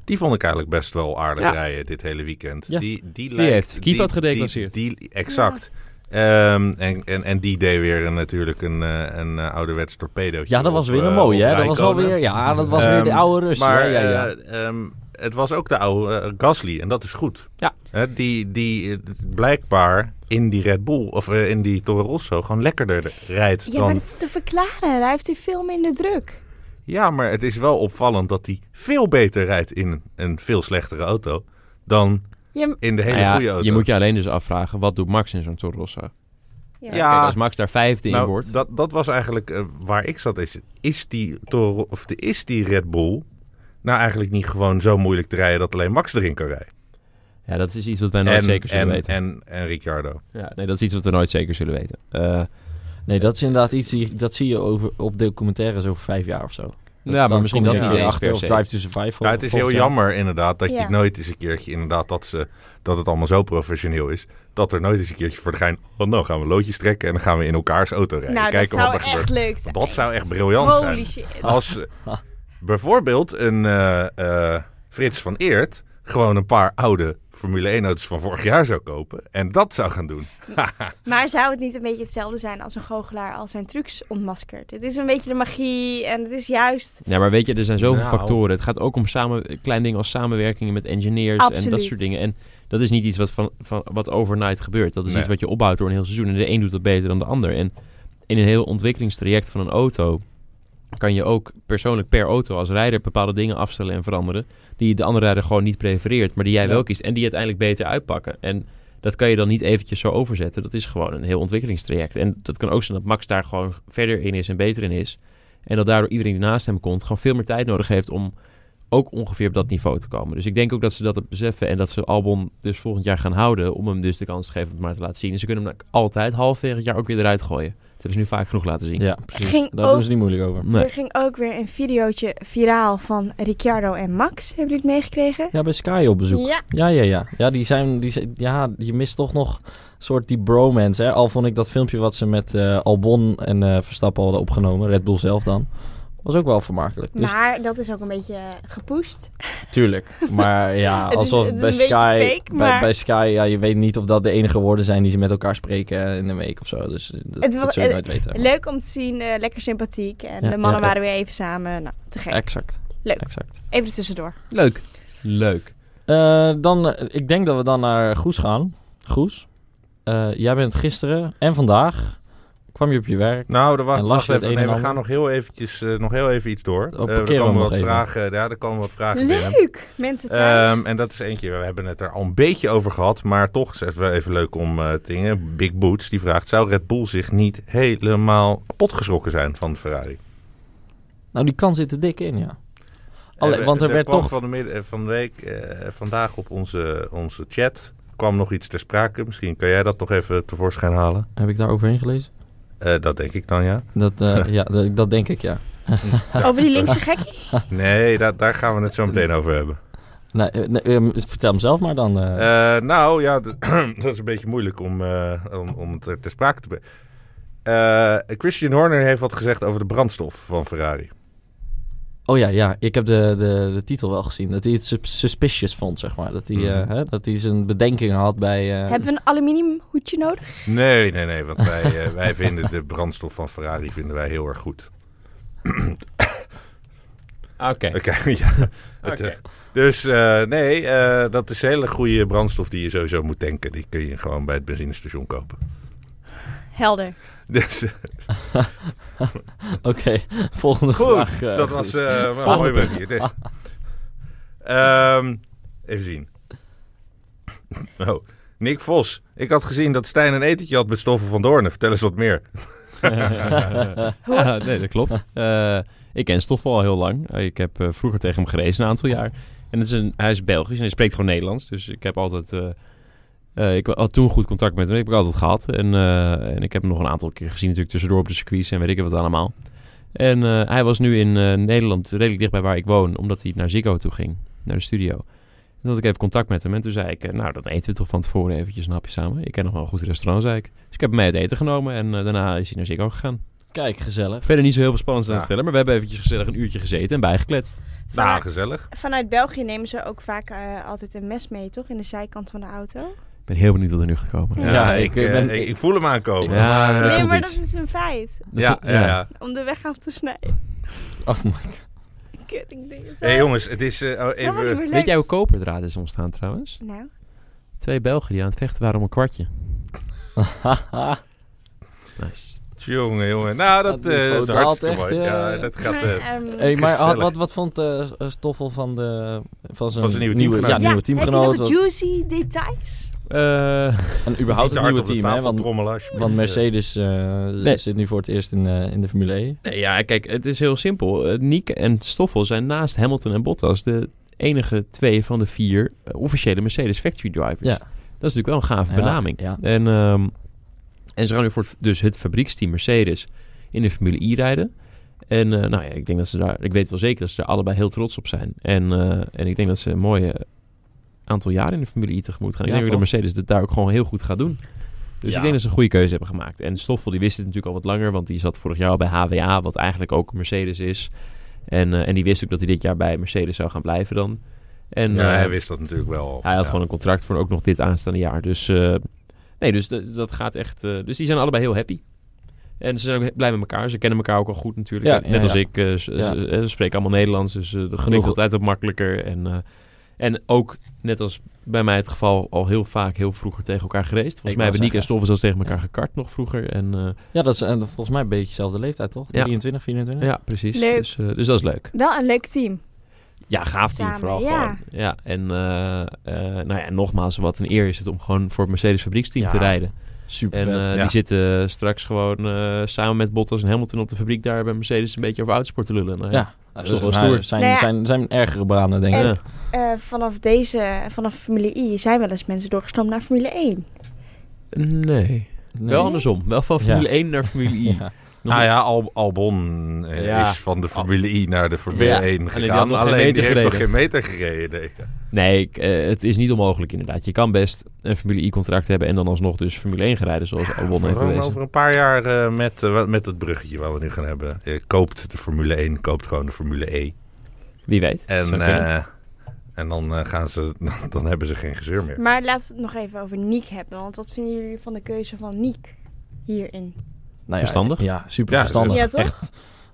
[SPEAKER 4] Die vond ik eigenlijk best wel aardig
[SPEAKER 1] Ja.
[SPEAKER 4] rijden dit hele weekend.
[SPEAKER 3] Ja.
[SPEAKER 4] Die, die, lijkt-
[SPEAKER 1] heeft Kivat gedeclasseerd.
[SPEAKER 4] Die, die- exact. Ehm, en, en, en die deed weer een- natuurlijk een, eh, een eh, ouderwets torpedootje.
[SPEAKER 3] Ja, dat was
[SPEAKER 4] op,
[SPEAKER 3] weer een
[SPEAKER 4] eh,
[SPEAKER 3] mooie,
[SPEAKER 4] op
[SPEAKER 3] hè? Dat was wel
[SPEAKER 4] Raikkonen.
[SPEAKER 3] weer, ja, dat was weer de
[SPEAKER 4] Ehm,
[SPEAKER 3] oude rust.
[SPEAKER 4] Maar
[SPEAKER 3] ja, ja, ja.
[SPEAKER 4] eh, ehm, het was ook de oude eh, Gasly en dat is goed.
[SPEAKER 1] Ja.
[SPEAKER 4] Hè, die, die eh, blijkbaar in die Red Bull of eh, in die Toro Rosso gewoon lekkerder rijdt
[SPEAKER 2] Ja,
[SPEAKER 4] dan...
[SPEAKER 2] maar dat is te verklaren. Hij heeft hier veel minder druk.
[SPEAKER 4] Ja, maar het is wel opvallend dat hij veel beter rijdt in een veel slechtere auto dan
[SPEAKER 2] Ja, m-
[SPEAKER 4] in de hele
[SPEAKER 1] Nou ja,
[SPEAKER 4] goede auto.
[SPEAKER 1] Je moet je alleen dus afvragen, wat doet Max in zo'n Toro Rosso?
[SPEAKER 2] ja.
[SPEAKER 4] Ja.
[SPEAKER 1] Kijk, als Max daar vijfde in
[SPEAKER 4] Nou,
[SPEAKER 1] wordt...
[SPEAKER 4] Dat, dat was eigenlijk eh, waar ik zat. Is, is, die Toro, of de, is die Red Bull nou eigenlijk niet gewoon zo moeilijk te rijden dat alleen Max erin kan rijden?
[SPEAKER 1] Ja, dat is iets wat wij nooit zeker zullen
[SPEAKER 4] en,
[SPEAKER 1] weten.
[SPEAKER 4] En, en Ricciardo.
[SPEAKER 1] ja, nee, dat is iets wat we nooit zeker zullen weten. Eh,
[SPEAKER 3] Nee, dat is inderdaad iets die, dat zie je over, op documentaires over vijf jaar of zo.
[SPEAKER 1] ja, maar misschien dat
[SPEAKER 4] je
[SPEAKER 1] niet
[SPEAKER 4] er
[SPEAKER 1] eens
[SPEAKER 3] achter
[SPEAKER 1] per
[SPEAKER 3] of
[SPEAKER 1] se.
[SPEAKER 3] Drive to Survive. vol-
[SPEAKER 4] Nou, het is heel
[SPEAKER 3] volgend jaar.
[SPEAKER 4] jammer inderdaad dat
[SPEAKER 2] Ja.
[SPEAKER 4] je nooit eens een keertje inderdaad dat, ze, dat het allemaal zo professioneel is. Dat er nooit eens een keertje voor de gein, oh nou gaan we loodjes trekken en dan gaan we in elkaars auto rijden.
[SPEAKER 2] Nou, dat
[SPEAKER 4] kijken
[SPEAKER 2] zou
[SPEAKER 4] wat er
[SPEAKER 2] echt
[SPEAKER 4] gebeurt.
[SPEAKER 2] leuk zijn.
[SPEAKER 4] Dat zou echt briljant zijn.
[SPEAKER 2] Holy shit.
[SPEAKER 4] Als eh, bijvoorbeeld een eh, eh, Frits van Eert gewoon een paar oude Formule 1-auto's van vorig jaar zou kopen en dat zou gaan doen.
[SPEAKER 2] Maar zou het niet een beetje hetzelfde zijn als een goochelaar al zijn trucs ontmaskert? Het is een beetje de magie en het is juist...
[SPEAKER 1] Ja, maar weet je, er zijn zoveel
[SPEAKER 4] Nou.
[SPEAKER 1] factoren. Het gaat ook om samen, klein dingen als samenwerkingen met engineers en dat
[SPEAKER 2] Absoluut.
[SPEAKER 1] soort dingen. En dat is niet iets wat, van, van, wat overnight gebeurt. Dat is
[SPEAKER 4] Nee.
[SPEAKER 1] iets wat je opbouwt door een heel seizoen. En de een doet dat beter dan de ander. En in een heel ontwikkelingstraject van een auto kan je ook persoonlijk per auto als rijder bepaalde dingen afstellen en veranderen. Die de andere rijder gewoon niet prefereert, maar die jij
[SPEAKER 3] Ja.
[SPEAKER 1] wel kiest. En die uiteindelijk beter uitpakken. En dat kan je dan niet eventjes zo overzetten. Dat is gewoon een heel ontwikkelingstraject. En dat kan ook zijn dat Max daar gewoon verder in is en beter in is. En dat daardoor iedereen die naast hem komt gewoon veel meer tijd nodig heeft om ook ongeveer op dat niveau te komen. Dus ik denk ook dat ze dat beseffen en dat ze Albon dus volgend jaar gaan houden om hem dus de kans te geven om het maar te laten zien. En ze kunnen hem ook altijd halverwege het jaar ook weer eruit gooien. Dat hebben ze nu vaak genoeg laten zien.
[SPEAKER 3] Ja, precies.
[SPEAKER 2] Ging
[SPEAKER 3] Daar
[SPEAKER 2] ook-
[SPEAKER 3] doen ze niet moeilijk over.
[SPEAKER 1] Nee.
[SPEAKER 2] Er ging ook weer een videootje viraal van Ricciardo en Max. Hebben jullie het meegekregen?
[SPEAKER 3] Ja, bij Sky op bezoek.
[SPEAKER 2] Ja.
[SPEAKER 3] Ja, ja, ja. Ja, die zijn, die zijn- ja, je mist toch nog een soort die bromance. Hè? Al vond ik dat filmpje wat ze met eh, Albon en eh, Verstappen hadden opgenomen, Red Bull zelf dan, was ook wel vermakelijk. Dus
[SPEAKER 2] Maar dat is ook een beetje eh, gepoest.
[SPEAKER 3] tuurlijk. Maar ja,
[SPEAKER 2] Het is-
[SPEAKER 3] alsof
[SPEAKER 2] het is een
[SPEAKER 3] bij
[SPEAKER 2] beetje
[SPEAKER 3] Sky,
[SPEAKER 2] fake,
[SPEAKER 3] bij,
[SPEAKER 2] maar-
[SPEAKER 3] bij Sky, ja, je weet niet of dat de enige woorden zijn die ze met elkaar spreken eh, in een week of zo. Dus eh, dat,
[SPEAKER 2] Het was-
[SPEAKER 3] dat zul je
[SPEAKER 2] eh,
[SPEAKER 3] nooit weten.
[SPEAKER 2] Leuk om te zien, eh, lekker sympathiek. En
[SPEAKER 3] Ja,
[SPEAKER 2] de mannen
[SPEAKER 3] ja, ja.
[SPEAKER 2] waren weer even samen. Nou, te gek.
[SPEAKER 3] Exact.
[SPEAKER 2] Leuk.
[SPEAKER 3] Exact.
[SPEAKER 2] Even er tussendoor.
[SPEAKER 1] Leuk. Leuk.
[SPEAKER 3] Eh, dan, eh, ik denk dat we dan naar Goes gaan. Goes, eh, jij bent gisteren en vandaag kwam je op je werk.
[SPEAKER 4] Nou, er wa-
[SPEAKER 3] En las
[SPEAKER 4] wacht
[SPEAKER 3] je het
[SPEAKER 4] even.
[SPEAKER 3] een
[SPEAKER 4] Nee,
[SPEAKER 3] en
[SPEAKER 4] we gaan
[SPEAKER 3] ander?
[SPEAKER 4] nog heel, eventjes, eh, nog heel even iets door.
[SPEAKER 3] Oh,
[SPEAKER 4] Eh, er,
[SPEAKER 3] parkeren we
[SPEAKER 4] komen
[SPEAKER 3] nog
[SPEAKER 4] wat
[SPEAKER 3] even.
[SPEAKER 4] vragen, ja, er komen wat vragen binnen.
[SPEAKER 2] Leuk! Mensen thuis.
[SPEAKER 4] Ehm, en dat is eentje, we hebben het er al een beetje over gehad, maar toch is het wel even leuk om eh, dingen. Big Boots die vraagt, zou Red Bull zich niet helemaal kapot geschrokken zijn van de Ferrari?
[SPEAKER 3] Nou, die kan zit er dik in, ja. Allee,
[SPEAKER 4] Eh, we-
[SPEAKER 3] want er werd
[SPEAKER 4] kwam
[SPEAKER 3] toch...
[SPEAKER 4] Van de, midden- eh, van de week, eh, vandaag op onze, onze chat, kwam nog iets ter sprake. Misschien kan jij dat nog even tevoorschijn halen.
[SPEAKER 3] Heb ik daar overheen gelezen?
[SPEAKER 4] Eh, dat denk ik dan, ja.
[SPEAKER 3] Dat, eh, ja, dat, dat denk ik, ja.
[SPEAKER 2] Over die linkse gekkie?
[SPEAKER 4] Nee, da- daar gaan we het zo meteen over hebben.
[SPEAKER 3] Nee, eh, nee, ehm, vertel hem zelf maar dan. eh.
[SPEAKER 4] Eh, nou ja, d- dat is een beetje moeilijk om, eh, om, om het er ter sprake te brengen. Eh, Christian Horner heeft wat gezegd over de brandstof van Ferrari.
[SPEAKER 3] Oh ja, ja, ik heb de, de, de titel wel gezien. Dat hij het sus- suspicious vond, zeg maar. Dat hij, eh,
[SPEAKER 4] Mhm.
[SPEAKER 3] hè, dat hij zijn bedenkingen had bij... eh,
[SPEAKER 2] Hebben we een aluminium hoedje nodig?
[SPEAKER 4] Nee, nee, nee, want wij, eh, wij vinden de brandstof van Ferrari vinden wij heel erg goed.
[SPEAKER 1] Oké.
[SPEAKER 4] Oké, ja. Het, eh, dus eh, nee, eh, dat is hele goede brandstof die je sowieso moet tanken. Die kun je gewoon bij het benzinestation kopen.
[SPEAKER 2] Helder.
[SPEAKER 4] Dus eh,
[SPEAKER 3] Oké, volgende
[SPEAKER 4] Goed,
[SPEAKER 3] vraag. eh,
[SPEAKER 4] dat
[SPEAKER 3] Goes.
[SPEAKER 4] was eh, wel een
[SPEAKER 3] Volgende
[SPEAKER 4] mooi
[SPEAKER 3] punt.
[SPEAKER 4] brugje. Nee. Ehm, even zien. Oh, Nick Vos. Ik had gezien dat Stijn een etentje had met Stoffel van Doornen. Vertel eens wat meer. eh,
[SPEAKER 1] Ja, nee, dat klopt. Eh, ik ken Stoffel al heel lang. Eh, ik heb eh, vroeger tegen hem gereisd een aantal jaar. En het is een, hij is Belgisch en hij spreekt gewoon Nederlands. Dus ik heb altijd... eh, eh, ik had toen goed contact met hem. Ik heb ik altijd gehad. En, eh, en ik heb hem nog een aantal keer gezien natuurlijk tussendoor op de circuits en weet ik het wat allemaal. En eh, hij was nu in eh, Nederland redelijk dichtbij waar ik woon. Omdat hij naar Ziggo toe ging. Naar de studio. En dat ik even contact met hem. En toen zei ik, eh, nou dan eten we toch van tevoren eventjes een hapje samen. Ik ken nog wel een goed restaurant, zei ik. Dus ik heb hem mee uit eten genomen. En eh, daarna is hij naar Ziggo gegaan.
[SPEAKER 3] Kijk, gezellig.
[SPEAKER 1] Verder niet zo heel veel spannends aan het
[SPEAKER 4] Ja.
[SPEAKER 1] vertellen, maar we hebben eventjes gezellig een uurtje gezeten en bijgekletst.
[SPEAKER 4] Nou,
[SPEAKER 2] Vanuit,
[SPEAKER 4] gezellig.
[SPEAKER 2] vanuit België nemen ze ook vaak eh, altijd een mes mee, toch? In de zijkant van de auto.
[SPEAKER 1] Ik ben heel benieuwd wat er nu gaat komen.
[SPEAKER 4] Ja,
[SPEAKER 3] Ja,
[SPEAKER 4] ik,
[SPEAKER 3] ik, eh,
[SPEAKER 4] eh,
[SPEAKER 3] ben-
[SPEAKER 4] ik, ik voel hem aankomen.
[SPEAKER 1] Ja,
[SPEAKER 4] Maar, eh,
[SPEAKER 1] dat
[SPEAKER 2] nee,
[SPEAKER 1] moet
[SPEAKER 2] maar dat
[SPEAKER 1] iets.
[SPEAKER 2] is een feit.
[SPEAKER 1] Dat is-
[SPEAKER 4] ja, ja, ja.
[SPEAKER 2] Om de weg af te snijden.
[SPEAKER 3] Oh my
[SPEAKER 2] Kut, ik denk zo.
[SPEAKER 4] Hé jongens, het is eh, oh,
[SPEAKER 2] Het is helemaal
[SPEAKER 4] even...
[SPEAKER 2] niet meer
[SPEAKER 1] Weet
[SPEAKER 2] leuk.
[SPEAKER 1] jij hoe koperdraad is ontstaan trouwens?
[SPEAKER 2] Nou,
[SPEAKER 1] Twee Belgen die aan het vechten waren om een kwartje.
[SPEAKER 3] god.
[SPEAKER 1] Nice.
[SPEAKER 4] Jongen, jongen. Nou, dat,
[SPEAKER 3] Dat
[SPEAKER 4] eh,
[SPEAKER 3] niveau
[SPEAKER 4] dat is hartstikke
[SPEAKER 3] daalt
[SPEAKER 4] mooi.
[SPEAKER 3] echt, eh,
[SPEAKER 4] ja, dat gaat... eh,
[SPEAKER 2] Ehm,
[SPEAKER 3] Hey, maar had,
[SPEAKER 4] Gezellig.
[SPEAKER 3] wat, wat vond eh, Stoffel van, de, van, zijn,
[SPEAKER 4] Van zijn nieuwe
[SPEAKER 3] nieuwe, ja,
[SPEAKER 4] teamgenoot.
[SPEAKER 2] ja,
[SPEAKER 3] nieuwe
[SPEAKER 2] Heb
[SPEAKER 3] teamgenoot?
[SPEAKER 2] je nog juicy details?
[SPEAKER 1] Eh,
[SPEAKER 3] wat- En überhaupt het
[SPEAKER 4] niet te hard
[SPEAKER 3] nieuwe
[SPEAKER 4] op de
[SPEAKER 3] team, hè?
[SPEAKER 4] tafel
[SPEAKER 3] Want,
[SPEAKER 4] trommelen, alsjeblieft.
[SPEAKER 3] want Mercedes eh, z-
[SPEAKER 1] Nee.
[SPEAKER 3] zit nu voor het eerst in, eh, in de Formule 1.
[SPEAKER 1] nee, ja, kijk, het is heel simpel. Eh, Nick en Stoffel zijn naast Hamilton en Bottas de enige twee van de vier eh, officiële Mercedes Factory Drivers.
[SPEAKER 3] Ja.
[SPEAKER 1] Dat is natuurlijk wel een gave
[SPEAKER 3] Ja,
[SPEAKER 1] benaming.
[SPEAKER 3] ja.
[SPEAKER 1] En, ehm, en ze gaan nu voor het- dus het fabrieksteam Mercedes in de Formule I rijden. En eh, nou ja, ik denk dat ze daar, ik weet wel zeker dat ze er allebei heel trots op zijn. En, eh, en ik denk dat ze een mooie aantal jaren in de Formule I tegemoet gaan.
[SPEAKER 3] Ja,
[SPEAKER 1] ik denk ook
[SPEAKER 3] toch?
[SPEAKER 1] dat Mercedes het daar ook gewoon heel goed gaat doen. Dus
[SPEAKER 3] Ja.
[SPEAKER 1] ik denk dat ze een goede keuze hebben gemaakt. En Stoffel, die wist het natuurlijk al wat langer, want die zat vorig jaar al bij HWA, wat eigenlijk ook Mercedes is. En, eh, en die wist ook dat hij dit jaar bij Mercedes zou gaan blijven dan. En,
[SPEAKER 4] Ja,
[SPEAKER 1] eh,
[SPEAKER 4] hij wist dat natuurlijk wel.
[SPEAKER 1] hij had
[SPEAKER 4] Ja.
[SPEAKER 1] gewoon een contract voor ook nog dit aanstaande jaar. Dus, eh, nee, dus dat, dat gaat echt. eh, dus die zijn allebei heel happy. En ze zijn ook he- blij met elkaar. Ze kennen elkaar ook al goed natuurlijk.
[SPEAKER 3] Ja,
[SPEAKER 1] Net
[SPEAKER 3] ja,
[SPEAKER 1] als
[SPEAKER 3] ja.
[SPEAKER 1] ik. eh, ze,
[SPEAKER 3] Ja.
[SPEAKER 1] ze- eh, ze spreken allemaal Nederlands. Dus eh, dat
[SPEAKER 3] Genoeg.
[SPEAKER 1] klinkt altijd wat makkelijker. En, eh, en ook, net als bij mij het geval, al heel vaak heel vroeger tegen elkaar gereisd. Volgens
[SPEAKER 3] wou
[SPEAKER 1] mij hebben Nick
[SPEAKER 3] zeggen.
[SPEAKER 1] en Stoffel zelfs tegen elkaar gekart nog vroeger. En, eh,
[SPEAKER 3] Ja, dat is eh, volgens mij een beetje dezelfde leeftijd, toch?
[SPEAKER 1] Ja.
[SPEAKER 3] 23, 24?
[SPEAKER 1] ja, precies.
[SPEAKER 2] Leuk.
[SPEAKER 1] Dus, eh, dus dat is leuk.
[SPEAKER 2] Wel een leuk team.
[SPEAKER 1] Ja, gaaf team
[SPEAKER 2] Samen,
[SPEAKER 1] vooral
[SPEAKER 2] ja.
[SPEAKER 1] gewoon. Ja, en eh, eh, nou ja, nogmaals, wat een eer is het om gewoon voor het Mercedes fabrieksteam te
[SPEAKER 3] Ja.
[SPEAKER 1] rijden.
[SPEAKER 3] Super
[SPEAKER 1] En eh,
[SPEAKER 4] Ja.
[SPEAKER 1] die zitten straks gewoon eh, samen met Bottas en Hamilton op de fabriek daar bij Mercedes een beetje over autosport te lullen. Nou,
[SPEAKER 3] Eh, ja,
[SPEAKER 1] dat
[SPEAKER 3] dat
[SPEAKER 1] is toch wel stoer.
[SPEAKER 3] Zijn,
[SPEAKER 2] Nou ja.
[SPEAKER 3] zijn, zijn ergere banen, denk ik.
[SPEAKER 1] Ja.
[SPEAKER 2] En- Eh, vanaf deze, vanaf Formule I, zijn wel eens mensen doorgestroomd naar Formule E. 1.
[SPEAKER 1] Nee.
[SPEAKER 3] Nee.
[SPEAKER 1] Wel andersom. Wel van Formule 1 naar Formule I.
[SPEAKER 3] Ja.
[SPEAKER 4] Nou ja, Al- Albon eh,
[SPEAKER 1] Ja.
[SPEAKER 4] is van de Formule I naar de Formule
[SPEAKER 1] Ja.
[SPEAKER 4] 1
[SPEAKER 1] die had
[SPEAKER 4] gegaan.
[SPEAKER 1] nog geen
[SPEAKER 4] Alleen
[SPEAKER 1] meter
[SPEAKER 4] die heeft nog
[SPEAKER 1] gereden.
[SPEAKER 4] geen meter gereden. nee.
[SPEAKER 1] Nee, ik, eh, het is niet onmogelijk inderdaad. Je kan best een Formule I contract hebben en dan alsnog dus Formule 1 gaan rijden zoals Albon heeft
[SPEAKER 4] Gewoon
[SPEAKER 1] bewezen.
[SPEAKER 4] over een paar jaar eh, met, eh, wat- met het bruggetje wat we nu gaan hebben. Je koopt de Formule 1, koopt gewoon de Formule E.
[SPEAKER 1] Wie weet.
[SPEAKER 4] En,
[SPEAKER 1] Zou kunnen.
[SPEAKER 4] eh, en dan, eh, gaan ze, dan hebben ze geen gezeur meer.
[SPEAKER 2] Maar laten we het nog even over Niek hebben. Want wat vinden jullie van de keuze van Niek hierin?
[SPEAKER 3] Nou ja,
[SPEAKER 1] Verstandig?
[SPEAKER 3] Ja, super
[SPEAKER 4] Ja,
[SPEAKER 3] verstandig.
[SPEAKER 2] ja, toch?
[SPEAKER 3] Echt.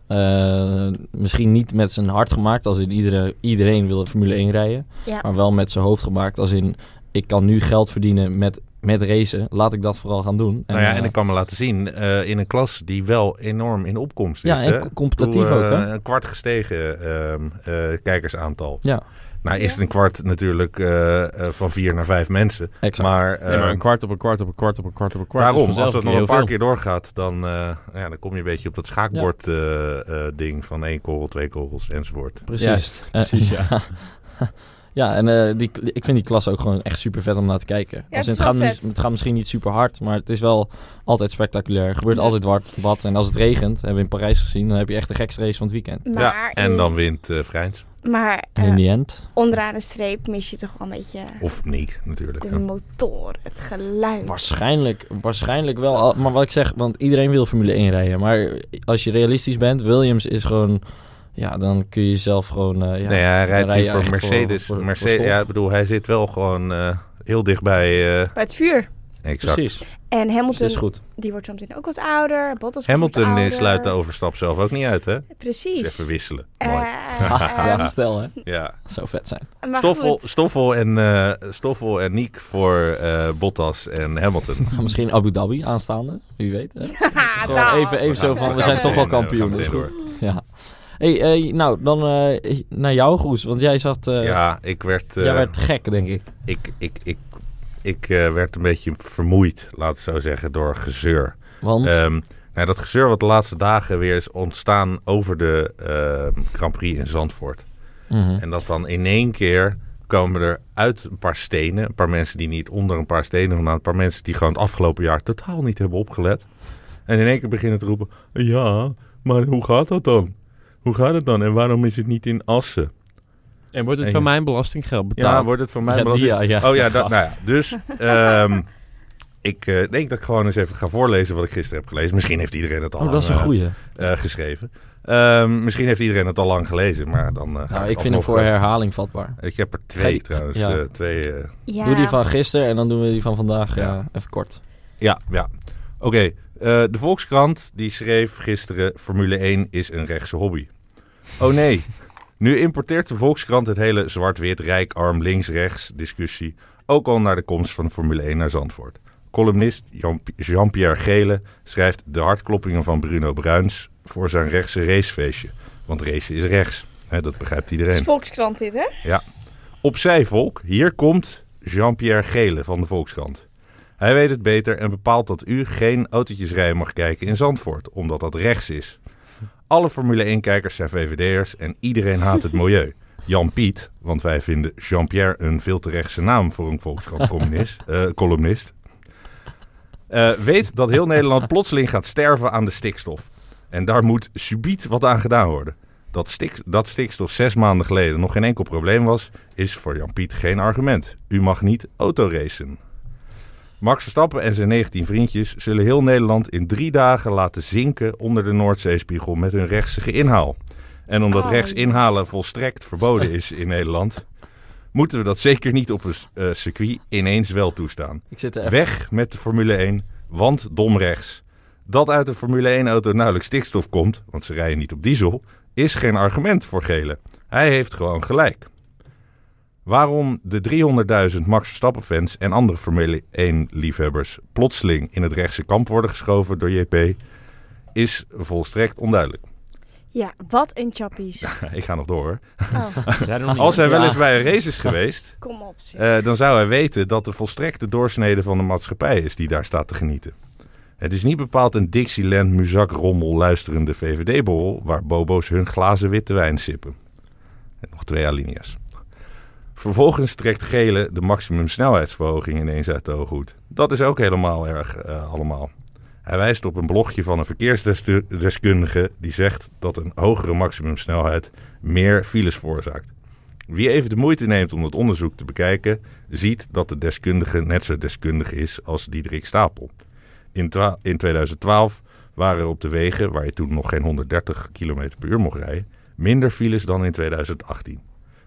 [SPEAKER 3] Eh, misschien niet met zijn hart gemaakt, als in iedereen, iedereen wil Formule 1 rijden.
[SPEAKER 2] Ja.
[SPEAKER 3] Maar wel met zijn hoofd gemaakt, als in ik kan nu geld verdienen met, met racen. Laat ik dat vooral gaan doen.
[SPEAKER 4] nou ja, en
[SPEAKER 3] eh,
[SPEAKER 4] ik kan me laten zien eh, in een klas die wel enorm in opkomst
[SPEAKER 3] ja,
[SPEAKER 4] is.
[SPEAKER 3] en
[SPEAKER 4] hè?
[SPEAKER 3] co- competitief
[SPEAKER 4] bedoel,
[SPEAKER 3] ook,
[SPEAKER 4] eh,
[SPEAKER 3] hè?
[SPEAKER 4] Een kwart gestegen ehm, eh, kijkersaantal.
[SPEAKER 3] Ja.
[SPEAKER 4] Nou is het een kwart natuurlijk eh, eh, van vier naar vijf mensen.
[SPEAKER 3] Exact.
[SPEAKER 4] Maar,
[SPEAKER 1] Nee, maar
[SPEAKER 4] ehm,
[SPEAKER 1] een kwart op een kwart op een kwart op een kwart op een kwart. is
[SPEAKER 4] Waarom?
[SPEAKER 1] vanzelf
[SPEAKER 4] Als dat nog
[SPEAKER 1] heel
[SPEAKER 4] een paar
[SPEAKER 1] veel.
[SPEAKER 4] keer doorgaat, dan, eh, ja, dan kom je een beetje op dat schaakbord eh, eh, ding van één korrel, twee korrels enzovoort.
[SPEAKER 3] Precies.
[SPEAKER 1] Juist.
[SPEAKER 3] Eh,
[SPEAKER 1] Precies, ja.
[SPEAKER 3] ja, en eh, die, die- ik vind die klas ook gewoon echt super vet om naar te kijken.
[SPEAKER 2] Ja,
[SPEAKER 3] Als
[SPEAKER 2] het
[SPEAKER 3] in,
[SPEAKER 2] is
[SPEAKER 3] gaat,
[SPEAKER 2] wel
[SPEAKER 3] mis-
[SPEAKER 2] vet.
[SPEAKER 3] het gaat misschien niet super hard, maar het is wel altijd spectaculair. Er gebeurt
[SPEAKER 2] Ja.
[SPEAKER 3] altijd wat, wat. En als het regent, hebben we in Parijs gezien, dan heb je echt de gekste race van het weekend.
[SPEAKER 2] Maar,
[SPEAKER 4] ja, en
[SPEAKER 2] in-
[SPEAKER 4] dan wint eh Vrijns.
[SPEAKER 2] maar
[SPEAKER 3] En
[SPEAKER 2] eh,
[SPEAKER 3] in die end.
[SPEAKER 2] onderaan de streep mis je toch wel een beetje
[SPEAKER 4] Of Niek natuurlijk.
[SPEAKER 2] de motor, het geluid.
[SPEAKER 3] Waarschijnlijk, waarschijnlijk wel. Al- Maar wat ik zeg, want iedereen wil Formule 1 rijden. Maar als je realistisch bent, Williams is gewoon... Ja, dan kun je jezelf gewoon... eh, ja,
[SPEAKER 4] nee, hij rijdt
[SPEAKER 3] rij
[SPEAKER 4] nu
[SPEAKER 3] je
[SPEAKER 4] voor
[SPEAKER 3] echt voor-
[SPEAKER 4] Mercedes.
[SPEAKER 3] voor- voor
[SPEAKER 4] Mercedes
[SPEAKER 3] stof.
[SPEAKER 4] ja, ik bedoel, hij zit wel gewoon eh, heel dichtbij. eh
[SPEAKER 2] Bij het vuur.
[SPEAKER 4] exact.
[SPEAKER 3] Precies,
[SPEAKER 2] En
[SPEAKER 3] dus dat
[SPEAKER 2] Hamilton,
[SPEAKER 3] is goed.
[SPEAKER 2] die wordt zometeen ook wat ouder. Bottas wordt wat
[SPEAKER 4] Hamilton eh,
[SPEAKER 2] ouder.
[SPEAKER 4] sluit de overstap zelf ook niet uit, hè? Dus
[SPEAKER 2] Precies.
[SPEAKER 4] even wisselen.
[SPEAKER 2] Eh,
[SPEAKER 4] Mooi.
[SPEAKER 2] eh,
[SPEAKER 3] ja, stel hè.
[SPEAKER 4] Ja.
[SPEAKER 3] Zou vet zijn.
[SPEAKER 2] maar
[SPEAKER 4] Stoffel,
[SPEAKER 2] goed.
[SPEAKER 4] Stoffel, en, eh Stoffel en Niek voor eh, Bottas en Hamilton.
[SPEAKER 3] Misschien Abu Dhabi aanstaande, wie weet. Hè?
[SPEAKER 2] Ja,
[SPEAKER 3] Gewoon
[SPEAKER 2] nou.
[SPEAKER 3] even, even zo van, we zijn toch wel kampioen. Dat is goed. Ja. Hey, eh, nou, dan eh, naar jou, Goes. Want jij zat... eh,
[SPEAKER 4] ja, ik werd, eh,
[SPEAKER 3] Jij werd gek, denk ik.
[SPEAKER 4] ik, ik, ik, ik eh, werd een beetje vermoeid, laat ik zo zeggen, door gezeur.
[SPEAKER 3] Want...
[SPEAKER 4] Ehm, nou, dat gezeur wat de laatste dagen weer is ontstaan over de ehm Grand Prix in Zandvoort.
[SPEAKER 3] mhm.
[SPEAKER 4] En dat dan in één keer komen er uit een paar stenen, een paar mensen die niet onder een paar stenen vandaan, een paar mensen die gewoon het afgelopen jaar totaal niet hebben opgelet. En in één keer beginnen te roepen, ja, maar hoe gaat dat dan? Hoe gaat het dan? En waarom is het niet in Assen?
[SPEAKER 1] En wordt het
[SPEAKER 4] En-
[SPEAKER 1] van mijn belastinggeld betaald?
[SPEAKER 4] Ja, wordt het voor mij
[SPEAKER 3] Ja,
[SPEAKER 4] belasting?
[SPEAKER 3] die, ja, ja.
[SPEAKER 4] Oh ja, dat,
[SPEAKER 3] Gast.
[SPEAKER 4] nou ja. Dus ehm, ik eh, denk dat ik gewoon eens even ga voorlezen wat ik gisteren heb gelezen. Misschien heeft iedereen het al
[SPEAKER 3] Oh, dat is een
[SPEAKER 4] lang, eh,
[SPEAKER 3] goeie.
[SPEAKER 4] eh, geschreven. Ehm, misschien heeft iedereen het al lang gelezen, maar dan eh, ga
[SPEAKER 3] Nou,
[SPEAKER 4] ik
[SPEAKER 3] ik vind hem
[SPEAKER 4] alsnog,
[SPEAKER 3] voor
[SPEAKER 4] eh,
[SPEAKER 3] herhaling vatbaar.
[SPEAKER 4] Ik heb er
[SPEAKER 3] Ga
[SPEAKER 4] twee
[SPEAKER 3] die-
[SPEAKER 4] trouwens.
[SPEAKER 3] ja.
[SPEAKER 4] eh, twee, eh,
[SPEAKER 2] Ja.
[SPEAKER 3] Doe die van gisteren en dan doen we die van vandaag
[SPEAKER 4] Ja.
[SPEAKER 3] eh, even kort.
[SPEAKER 4] ja, ja. Oké, eh, de Volkskrant die schreef gisteren... Formule 1 is een rechtse hobby. Oh nee, nu importeert de Volkskrant het hele zwart-wit, rijk, arm, links-rechts discussie... ook al naar de komst van Formule 1 naar Zandvoort. Columnist Jan- Jean-Pierre Gele schrijft de hartkloppingen van Bruno Bruins voor zijn rechtse racefeestje. Want racen is rechts. Hè, dat begrijpt
[SPEAKER 2] Het is
[SPEAKER 4] iedereen.
[SPEAKER 2] Volkskrant dit, hè?
[SPEAKER 4] Opzij, volk. Hier komt Jean-Pierre Gele van de Volkskrant. Hij weet het beter en bepaalt dat u geen autootjes rijden mag kijken in Zandvoort, omdat dat rechts is. Alle Formule 1-kijkers zijn VVD'ers en iedereen haat het milieu. Jan-Piet, want wij vinden Jean-Pierre een veel te rechtse naam voor een Volkskrant-columnist. eh, columnist, eh, weet dat heel Nederland plotseling gaat sterven aan de stikstof. En daar moet subiet wat aan gedaan worden. Dat, stik, dat stikstof zes maanden geleden nog geen enkel probleem was, is voor Jan-Piet geen argument. U mag niet autoracen. Max Verstappen en zijn 19 vriendjes zullen heel Nederland in drie dagen laten zinken onder de Noordzeespiegel met hun rechtse inhaal. En omdat
[SPEAKER 2] Oh.
[SPEAKER 4] rechts inhalen volstrekt verboden is in Nederland, moeten we dat zeker niet op een eh, circuit ineens wel toestaan.
[SPEAKER 3] Ik zit er even...
[SPEAKER 4] Weg met de Formule 1, want dom rechts. Dat uit de Formule 1-auto nauwelijks stikstof komt, want ze rijden niet op diesel, is geen argument voor Gele. Hij heeft gewoon gelijk. Waarom de 300.000 Max Verstappen-fans en andere Formule 1-liefhebbers plotseling in het rechtse kamp worden geschoven door JP, is volstrekt onduidelijk.
[SPEAKER 2] Ja, wat een chappies.
[SPEAKER 4] Ik ga nog door.
[SPEAKER 2] Oh,
[SPEAKER 1] Zijn er nog niet?
[SPEAKER 4] Als hij wel
[SPEAKER 3] Ja.
[SPEAKER 4] eens bij een race is geweest,
[SPEAKER 2] kom op, zeg.
[SPEAKER 4] Eh, dan zou hij weten dat de volstrekte doorsnede van de maatschappij is die daar staat te genieten. Het is niet bepaald een Dixieland muzakrommel luisterende VVD-borrel waar bobo's hun glazen witte wijn sippen. En nog twee alinea's. Vervolgens trekt Gele de maximumsnelheidsverhoging ineens uit de hooghoed. Dat is ook helemaal erg eh, allemaal. Hij wijst op een blogje van een verkeersdeskundige die zegt dat een hogere maximumsnelheid meer files veroorzaakt. Wie even de moeite neemt om het onderzoek te bekijken, ziet dat de deskundige net zo deskundig is als Diederik Stapel. In, twa- in 2012 waren er op de wegen, waar je toen nog geen 130 km per uur mocht rijden, minder files dan in 2018.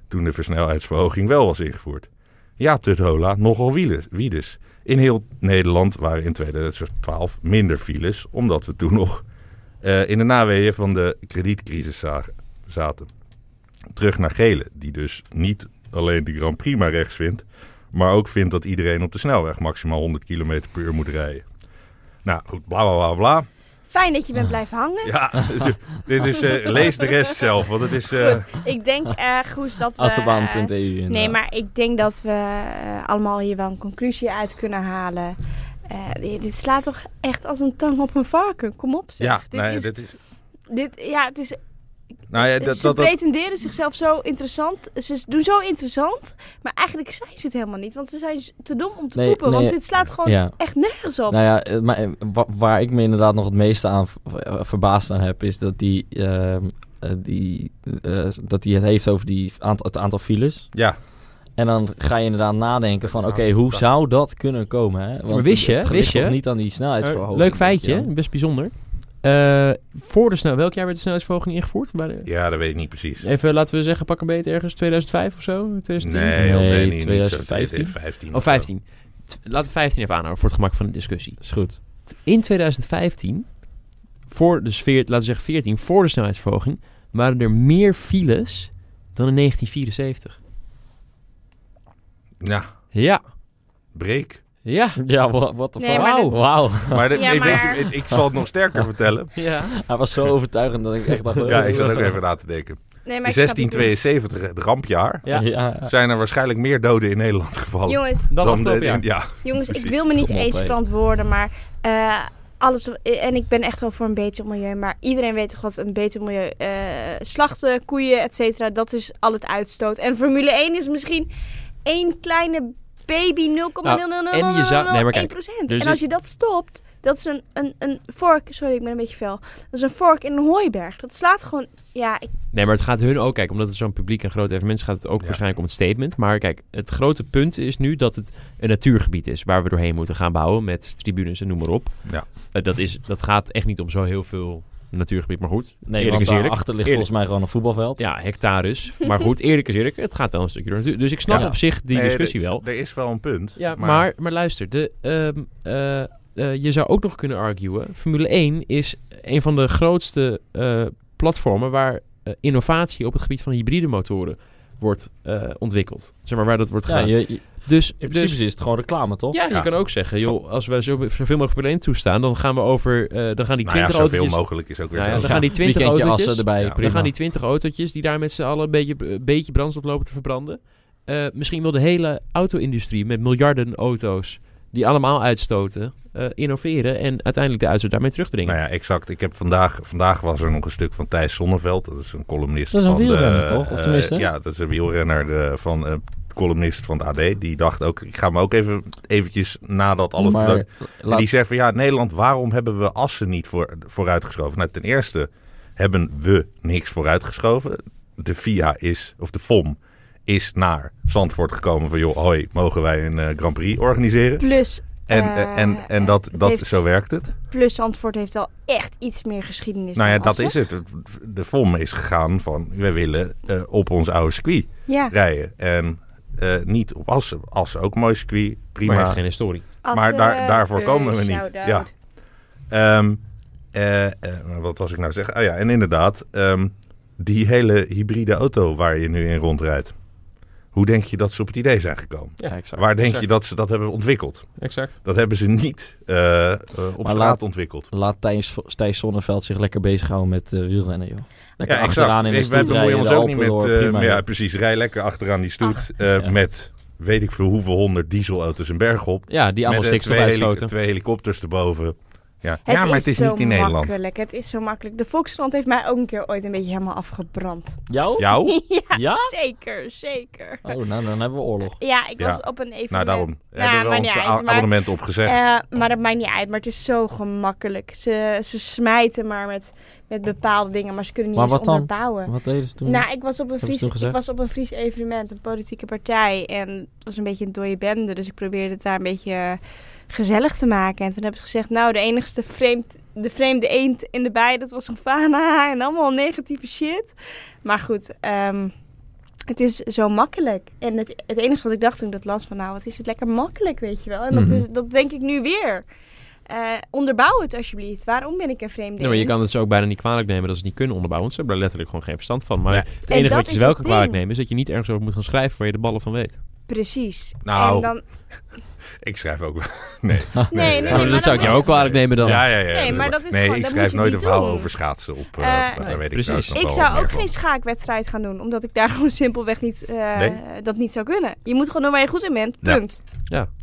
[SPEAKER 4] Toen de versnelheidsverhoging wel was ingevoerd. Ja, Tuthola, nogal wieles- wiedes. In heel Nederland waren in 2012 minder files, omdat we toen nog eh, in de naweeën van de kredietcrisis zagen- zaten terug naar Gele, die dus niet alleen de Grand Prix maar rechts vindt, maar ook vindt dat iedereen op de snelweg maximaal 100 km per uur moet rijden. Nou goed, bla bla bla bla.
[SPEAKER 2] Fijn dat je
[SPEAKER 4] Ah.
[SPEAKER 2] bent blijven hangen.
[SPEAKER 4] Ja, dit is, eh, lees de rest zelf, want het is... eh,
[SPEAKER 2] Ik denk, eh Goes, dat we... eh,
[SPEAKER 3] Autobaan.eu.
[SPEAKER 2] Nee,
[SPEAKER 3] inderdaad.
[SPEAKER 2] maar ik denk dat we eh, allemaal hier wel een conclusie uit kunnen halen. Eh, dit, dit slaat toch echt als een tang op een varken. Kom op, zeg.
[SPEAKER 4] ja,
[SPEAKER 2] dit
[SPEAKER 4] nee,
[SPEAKER 2] is,
[SPEAKER 4] dit is...
[SPEAKER 2] dit, ja, het is
[SPEAKER 4] Nou ja, dat,
[SPEAKER 2] ze
[SPEAKER 4] dat, dat,
[SPEAKER 2] pretenderen zichzelf zo interessant. Ze doen zo interessant, maar eigenlijk zijn ze het helemaal niet. Want ze zijn z- te dom om te
[SPEAKER 3] Nee,
[SPEAKER 2] poepen.
[SPEAKER 3] nee.
[SPEAKER 2] want dit slaat gewoon
[SPEAKER 3] Ja.
[SPEAKER 2] echt nergens op.
[SPEAKER 3] Nou ja, eh, maar, eh, wa- waar ik me inderdaad nog het meeste aan v- eh, verbaasd aan heb, is dat die, ehm, eh, die, eh, dat die het heeft over die aant- het aantal files.
[SPEAKER 4] ja,
[SPEAKER 3] En dan ga je inderdaad nadenken van, oké, hoe zou dat kunnen komen? Hè? Want
[SPEAKER 1] Maar wist je,
[SPEAKER 3] het ligt
[SPEAKER 1] wist je?
[SPEAKER 3] toch niet aan die snelheidsverhoging.
[SPEAKER 1] Eh, Leuk feitje,
[SPEAKER 3] weet je
[SPEAKER 1] best bijzonder. Eh, voor de snel, welk jaar werd de snelheidsverhoging ingevoerd? Bij de-
[SPEAKER 4] ja, dat weet ik niet precies.
[SPEAKER 1] Even laten we zeggen, pak een beet ergens 2005 of zo? 2010?
[SPEAKER 4] Nee, joh,
[SPEAKER 3] Nee,
[SPEAKER 4] nee, niet zo.
[SPEAKER 3] 2015?
[SPEAKER 4] 2015
[SPEAKER 1] Of 15. T- Laten we 15 even aanhouden voor het gemak van de discussie.
[SPEAKER 3] wel. Is goed.
[SPEAKER 1] In 2015, voor de sfeer, laten we zeggen 14, voor de snelheidsverhoging, waren er meer files dan in 1974.
[SPEAKER 4] Nou,
[SPEAKER 1] Ja,
[SPEAKER 4] breek.
[SPEAKER 1] ja,
[SPEAKER 3] Ja, wa- wat de
[SPEAKER 2] Nee,
[SPEAKER 3] fuck?
[SPEAKER 2] maar
[SPEAKER 1] Wauw.
[SPEAKER 2] dat-
[SPEAKER 3] Wauw.
[SPEAKER 4] Maar, dit-
[SPEAKER 2] Ja,
[SPEAKER 4] nee, weet
[SPEAKER 2] maar-
[SPEAKER 4] je, ik, ik zal het nog sterker vertellen.
[SPEAKER 1] ja.
[SPEAKER 3] Hij was zo overtuigend dat ik echt dacht... eh,
[SPEAKER 4] Ja, ik zat ook even na te denken.
[SPEAKER 2] nee, maar ik snap het niet.
[SPEAKER 4] 1672, het rampjaar,
[SPEAKER 1] Ja.
[SPEAKER 3] Ja, ja.
[SPEAKER 4] zijn er waarschijnlijk meer doden in Nederland gevallen.
[SPEAKER 2] Jongens,
[SPEAKER 1] Dat
[SPEAKER 4] dan
[SPEAKER 1] afgelopen
[SPEAKER 4] de-
[SPEAKER 1] jaar.
[SPEAKER 4] ja.
[SPEAKER 2] jongens ik
[SPEAKER 4] precies.
[SPEAKER 2] wil me niet
[SPEAKER 3] Kom op,
[SPEAKER 2] eens
[SPEAKER 3] hé.
[SPEAKER 2] verantwoorden, maar eh, alles. En ik ben echt wel voor een beter milieu, maar iedereen weet toch wat een beter milieu. eh, slachten, koeien, et cetera, dat is al het uitstoot. En Formule 1 is misschien één kleine baby 0,00001%.
[SPEAKER 4] Nou,
[SPEAKER 1] en je zou- nee, maar kijk, dus
[SPEAKER 2] en als
[SPEAKER 1] is-
[SPEAKER 2] je dat stopt, dat is een, een, een vork. Sorry, ik ben een beetje fel. Dat is een vork in een hooiberg. Dat slaat gewoon. Ja, ik,
[SPEAKER 1] Nee, maar het gaat hun ook, kijk, omdat het zo'n publiek en groot evenement is, gaat het ook
[SPEAKER 4] Ja.
[SPEAKER 1] waarschijnlijk om het statement. Maar kijk, het grote punt is nu dat het een natuurgebied is waar we doorheen moeten gaan bouwen met tribunes en noem maar op.
[SPEAKER 4] Ja.
[SPEAKER 1] Eh, dat, is, dat gaat echt niet om zo heel veel natuurgebied, maar goed.
[SPEAKER 3] Nee,
[SPEAKER 1] Eerlijk
[SPEAKER 3] want
[SPEAKER 1] is eerlijk.
[SPEAKER 3] daarachter ligt
[SPEAKER 1] Eerlijk.
[SPEAKER 3] volgens mij gewoon een voetbalveld.
[SPEAKER 1] Ja, hectares. Maar goed, eerlijk is eerlijk, het gaat wel een stukje door natuur. Dus ik snap
[SPEAKER 3] Ja.
[SPEAKER 1] op zich die
[SPEAKER 4] Nee,
[SPEAKER 1] discussie
[SPEAKER 4] er-
[SPEAKER 1] wel.
[SPEAKER 4] Er is wel een punt.
[SPEAKER 1] Ja, maar, maar, luister, de, ehm, eh, eh, je zou ook nog kunnen arguen. Formule 1 is een van de grootste eh, platformen waar eh, innovatie op het gebied van hybride motoren wordt eh, ontwikkeld. Zeg maar waar dat wordt
[SPEAKER 3] Ja,
[SPEAKER 1] gedaan.
[SPEAKER 3] je, je-
[SPEAKER 1] dus,
[SPEAKER 3] in
[SPEAKER 1] dus-
[SPEAKER 3] principe is het gewoon reclame, toch?
[SPEAKER 1] ja, je
[SPEAKER 4] Ja.
[SPEAKER 1] kan ook zeggen, joh, als wij zo, zoveel mogelijk Berlijn toestaan, dan gaan we over, eh, dan gaan die
[SPEAKER 4] Nou ja,
[SPEAKER 1] 20
[SPEAKER 4] zoveel
[SPEAKER 1] autootjes...
[SPEAKER 4] mogelijk is ook weer
[SPEAKER 1] Nou ja,
[SPEAKER 4] zo.
[SPEAKER 1] dan gaan die 20
[SPEAKER 3] Weekendje
[SPEAKER 1] autootjes...
[SPEAKER 3] assen erbij,
[SPEAKER 4] Ja. Dan
[SPEAKER 1] Dan
[SPEAKER 3] prima.
[SPEAKER 1] gaan die 20 autootjes die daar met z'n allen een beetje, een beetje brandstof lopen te verbranden. Eh, misschien wil de hele auto-industrie met miljarden auto's die allemaal uitstoten, eh, innoveren en uiteindelijk de uitstoot daarmee terugdringen.
[SPEAKER 4] Nou ja, exact. Ik heb vandaag, vandaag was er nog een stuk van Thijs Zonneveld. Dat is een columnist
[SPEAKER 3] Dat is een
[SPEAKER 4] van
[SPEAKER 3] wielrenner,
[SPEAKER 4] de,
[SPEAKER 3] toch? Of
[SPEAKER 4] eh,
[SPEAKER 3] tenminste?
[SPEAKER 4] ja, dat is een wielrenner eh, van... eh, columnist van het AD, die dacht ook... ik ga me ook even eventjes nadat alles...
[SPEAKER 3] maar
[SPEAKER 4] bedankt. En
[SPEAKER 3] laat-
[SPEAKER 4] die zegt van ja, Nederland, waarom hebben we assen niet voor, vooruitgeschoven? Nou, ten eerste hebben we niks vooruitgeschoven. De FIA is, of de FOM, is naar Zandvoort gekomen van joh, hoi, mogen wij een eh, Grand Prix organiseren?
[SPEAKER 2] Plus,
[SPEAKER 4] En,
[SPEAKER 2] Eh,
[SPEAKER 4] eh, en, en dat,
[SPEAKER 2] het
[SPEAKER 4] dat,
[SPEAKER 2] heeft-
[SPEAKER 4] zo werkt het.
[SPEAKER 2] plus Zandvoort heeft wel echt iets meer geschiedenis
[SPEAKER 4] Nou ja,
[SPEAKER 2] dan
[SPEAKER 4] dat
[SPEAKER 2] Assen.
[SPEAKER 4] is het. De FOM is gegaan van wij willen eh, op ons oude circuit
[SPEAKER 2] Ja,
[SPEAKER 4] rijden. En eh, niet op Assen. Assen ook een mooi circuit, prima.
[SPEAKER 1] Maar het is geen historie.
[SPEAKER 2] Assen,
[SPEAKER 4] daar- daarvoor komen we
[SPEAKER 2] eh,
[SPEAKER 4] niet.
[SPEAKER 2] shout-out.
[SPEAKER 4] Ja. Ehm, eh, eh, wat was ik nou zeggen? Oh ja, en inderdaad, ehm, die hele hybride auto waar je nu in rondrijdt. Hoe denk je dat ze op het idee zijn gekomen?
[SPEAKER 3] Ja, exact.
[SPEAKER 4] Waar denk
[SPEAKER 1] Exact.
[SPEAKER 4] je dat ze dat hebben ontwikkeld?
[SPEAKER 1] Exact.
[SPEAKER 4] Dat hebben ze niet eh, eh, op
[SPEAKER 3] Maar
[SPEAKER 4] straat
[SPEAKER 3] laat-
[SPEAKER 4] ontwikkeld.
[SPEAKER 3] Laat Thijs, Thijs Zonneveld zich lekker bezighouden met eh, wielrennen, joh. Lekker
[SPEAKER 4] Ja,
[SPEAKER 3] achteraan
[SPEAKER 4] exact.
[SPEAKER 3] in
[SPEAKER 4] Ik-
[SPEAKER 3] de
[SPEAKER 4] Wij
[SPEAKER 3] stoel
[SPEAKER 4] bemoeien
[SPEAKER 3] rijden,
[SPEAKER 4] ons
[SPEAKER 3] de
[SPEAKER 4] ook niet
[SPEAKER 3] Alpen
[SPEAKER 4] met...
[SPEAKER 3] door,
[SPEAKER 4] eh,
[SPEAKER 3] prima,
[SPEAKER 4] ja,
[SPEAKER 3] joh.
[SPEAKER 4] precies. Rij lekker achteraan die stoet
[SPEAKER 2] Ach.
[SPEAKER 4] eh,
[SPEAKER 3] Ja.
[SPEAKER 4] met weet ik veel hoeveel honderd dieselauto's een berg op.
[SPEAKER 1] Ja, die allemaal
[SPEAKER 4] met eh,
[SPEAKER 1] stikstof
[SPEAKER 4] twee, heli-
[SPEAKER 1] uitstoten.
[SPEAKER 4] twee helikopters erboven. Ja,
[SPEAKER 2] Het
[SPEAKER 4] ja maar het is
[SPEAKER 2] zo
[SPEAKER 4] niet in Nederland.
[SPEAKER 2] makkelijk. Het is zo makkelijk. De Volkskrant heeft mij ook een keer ooit een beetje helemaal afgebrand.
[SPEAKER 3] Jou?
[SPEAKER 4] Jou?
[SPEAKER 2] ja,
[SPEAKER 3] Ja?
[SPEAKER 2] zeker, zeker.
[SPEAKER 3] Oh, nou, dan hebben we oorlog.
[SPEAKER 2] Ja, ik
[SPEAKER 4] Ja.
[SPEAKER 2] was op een evenement.
[SPEAKER 4] Nou, daarom
[SPEAKER 2] Ja,
[SPEAKER 4] hebben we
[SPEAKER 2] maar
[SPEAKER 4] ons
[SPEAKER 2] niet uit,
[SPEAKER 4] a-
[SPEAKER 2] maar-
[SPEAKER 4] abonnement opgezegd.
[SPEAKER 2] Eh, maar dat maakt niet uit. Maar het is zo gemakkelijk. Ze, ze smijten maar met, met bepaalde dingen, maar ze kunnen niet
[SPEAKER 3] Maar
[SPEAKER 2] eens
[SPEAKER 3] wat dan?
[SPEAKER 2] onderbouwen.
[SPEAKER 3] Wat deden ze toen?
[SPEAKER 2] Nou, ik was op een
[SPEAKER 3] Hebben ze
[SPEAKER 2] Fries,
[SPEAKER 3] toen
[SPEAKER 2] ik
[SPEAKER 3] gezegd?
[SPEAKER 2] was op een Fries evenement, een politieke partij. En het was een beetje een dode bende. Dus ik probeerde het daar een beetje eh, gezellig te maken. En toen heb ik gezegd, nou, de enigste vreemd, de vreemde eend in de bij, dat was een fana. En allemaal negatieve shit. Maar goed, ehm, het is zo makkelijk. En het, het enige wat ik dacht toen ik dat las, van nou, wat is het lekker makkelijk, weet je wel. En dat,
[SPEAKER 3] Mhm.
[SPEAKER 2] is, dat denk ik nu weer. Eh, onderbouw het alsjeblieft. Waarom ben ik een vreemde
[SPEAKER 1] Nee, maar je
[SPEAKER 2] eend?
[SPEAKER 1] kan het ze ook bijna niet kwalijk nemen dat ze het niet kunnen onderbouwen. Want ze hebben daar letterlijk gewoon geen verstand van. Maar
[SPEAKER 4] Nee.
[SPEAKER 1] het
[SPEAKER 2] En
[SPEAKER 1] enige
[SPEAKER 2] dat
[SPEAKER 1] wat je ze
[SPEAKER 2] is
[SPEAKER 1] wel
[SPEAKER 2] het
[SPEAKER 1] kan kwalijk
[SPEAKER 2] ding.
[SPEAKER 1] nemen is dat je niet ergens over moet gaan schrijven waar je de ballen van weet.
[SPEAKER 2] Precies.
[SPEAKER 4] Nou,
[SPEAKER 2] en dan,
[SPEAKER 4] Ik schrijf ook wel. Nee.
[SPEAKER 2] Nee, nee,
[SPEAKER 1] Nou,
[SPEAKER 2] maar
[SPEAKER 1] dat zou ik
[SPEAKER 2] dat
[SPEAKER 1] jou
[SPEAKER 2] is-
[SPEAKER 1] ook kwalijk nemen dan.
[SPEAKER 4] Ja, ja, ja.
[SPEAKER 2] Nee, maar dat is
[SPEAKER 4] nee
[SPEAKER 2] gewoon-
[SPEAKER 4] ik
[SPEAKER 2] dat
[SPEAKER 4] schrijf
[SPEAKER 2] moet je
[SPEAKER 4] nooit
[SPEAKER 2] niet
[SPEAKER 4] een verhaal
[SPEAKER 2] doen.
[SPEAKER 4] over schaatsen op. eh
[SPEAKER 2] Eh,
[SPEAKER 4] daar
[SPEAKER 1] nee,
[SPEAKER 4] weet ik
[SPEAKER 1] precies.
[SPEAKER 4] trouwens nog
[SPEAKER 2] Ik
[SPEAKER 4] wel
[SPEAKER 2] zou
[SPEAKER 4] meer
[SPEAKER 2] ook
[SPEAKER 4] van.
[SPEAKER 2] geen schaakwedstrijd gaan doen, omdat ik daar gewoon simpelweg niet, eh,
[SPEAKER 4] Nee?
[SPEAKER 2] dat niet zou kunnen. Je moet gewoon doen waar je goed in bent.
[SPEAKER 4] Ja.
[SPEAKER 2] Punt.